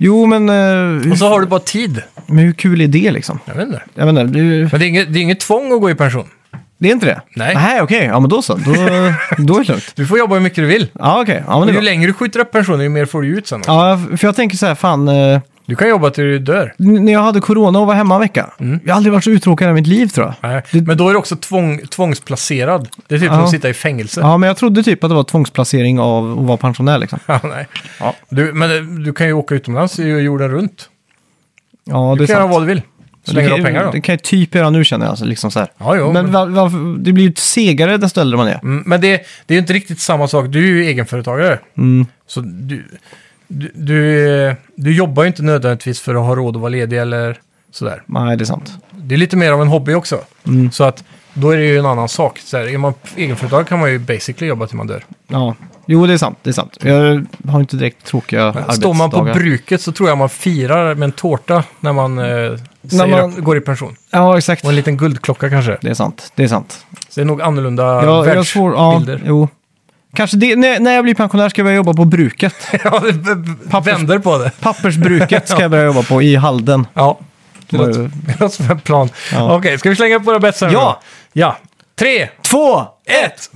Jo, men, eh, hur,
Och så har du bara tid.
men hur kul är det liksom?
Jag vet inte.
Jag menar, det,
Men det är inget, det är inget tvång att gå i pension.
det är inte det?
Nej.
Nej, okej. Ja, men då så. Då, då är det lugnt.
Du får jobba hur mycket du vill.
Ja, okej. Ja, men det
Och
är
ju
bra.
längre du skjuter upp pensionen, ju mer får du ut sen. också.
Ja, för jag tänker så här, fan, eh,
Du kan jobba till du dör.
n- när jag hade corona och var hemma en vecka,
Mm.
jag har aldrig varit så uttråkad i mitt liv tror jag.
Nej.
Det-
Men då är du också tvång, tvångsplacerad. Det är typ som
Ja.
att sitta i fängelse.
Ja, men jag trodde typ att det var tvångsplacering av att vara pensionär liksom.
Ja, nej.
Ja.
Du, men eh, du kan ju åka utomlands i jorden runt.
Ja, det
Du
är
kan göra
sant.
vad du vill. Så länge du har
kan-
pengar då.
Det kan jag typ göra nu känner jag. Alltså, liksom så här.
Ja, jo,
men
men-
var, varför- det blir ju segare desto äldre man är.
Mm, men det, det är ju inte riktigt samma sak. Du är ju egenföretagare. Så du, du, du, eh, du jobbar ju inte nödvändigtvis för att ha råd att vara ledig eller sådär.
Nej, det är sant.
Det är lite mer av en hobby också.
Mm.
Så att då är det ju en annan sak. Så här, är man egenföretagare kan man ju basically jobba till man dör.
Ja. Jo, det är sant. Det är sant. Jag har inte direkt tråkiga arbetsdagar.
Står man på bruket så tror jag man firar med en tårta när man, eh, säger
man-
upp- går i pension.
Ja, exakt.
Och en liten guldklocka kanske.
Det är sant. Det är sant.
Så det är nog annorlunda
Jag, jag har svår, ja,
världsbilder.
jo. Kanske det, när, när jag blir pensionär ska jag börja jobba på bruket.
Ja, det b- b- vänder på det.
Pappersbruket ska jag börja jobba på i Halden.
Ja,
Det
det
var
låter
ju-
det låter som en plan.
Ja.
Okej, ska vi slänga upp våra bets här nu
Ja.
då? Ja! Tre,
Två!
ett!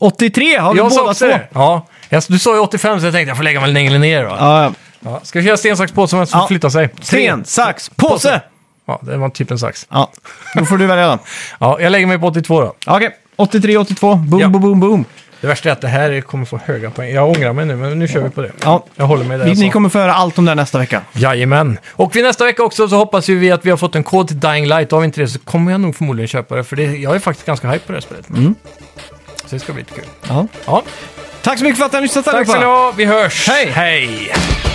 83 har vi
Jag sa
båda
också
två.
det. Ja, jag, du sa ju 85 så jag tänkte jag får lägga mig längre ner då. Ja.
Ja, ja.
Ska vi köra sten, sax, påse vem som
Ja.
flyttar sig?
Sten, sax, påse!
Ja, det var typ en sax.
Ja, då får du välja den.
Ja, jag lägger mig på 82 då.
Ja, Okej, 83, 82. Boom,
Ja.
boom, boom, boom.
Det värsta är att det här kommer få höga poäng. Jag ångrar mig nu, men nu kör vi på det.
Ja.
Jag håller mig där
Ni,
jag sa.
ni kommer få höra allt om det här nästa vecka.
Jajamän. Och vid nästa vecka också så hoppas ju vi att vi har fått en kod till Dying Light. Har vi inte det så kommer jag nog förmodligen köpa det, för det, jag är faktiskt ganska hype på det här spelet. Så det ska bli lite kul.
Mm. Ja.
Ja.
Tack så mycket för att ni har lyssnat
Tack ska ni
allihopa.
ha, vi hörs.
Hej.
Hej.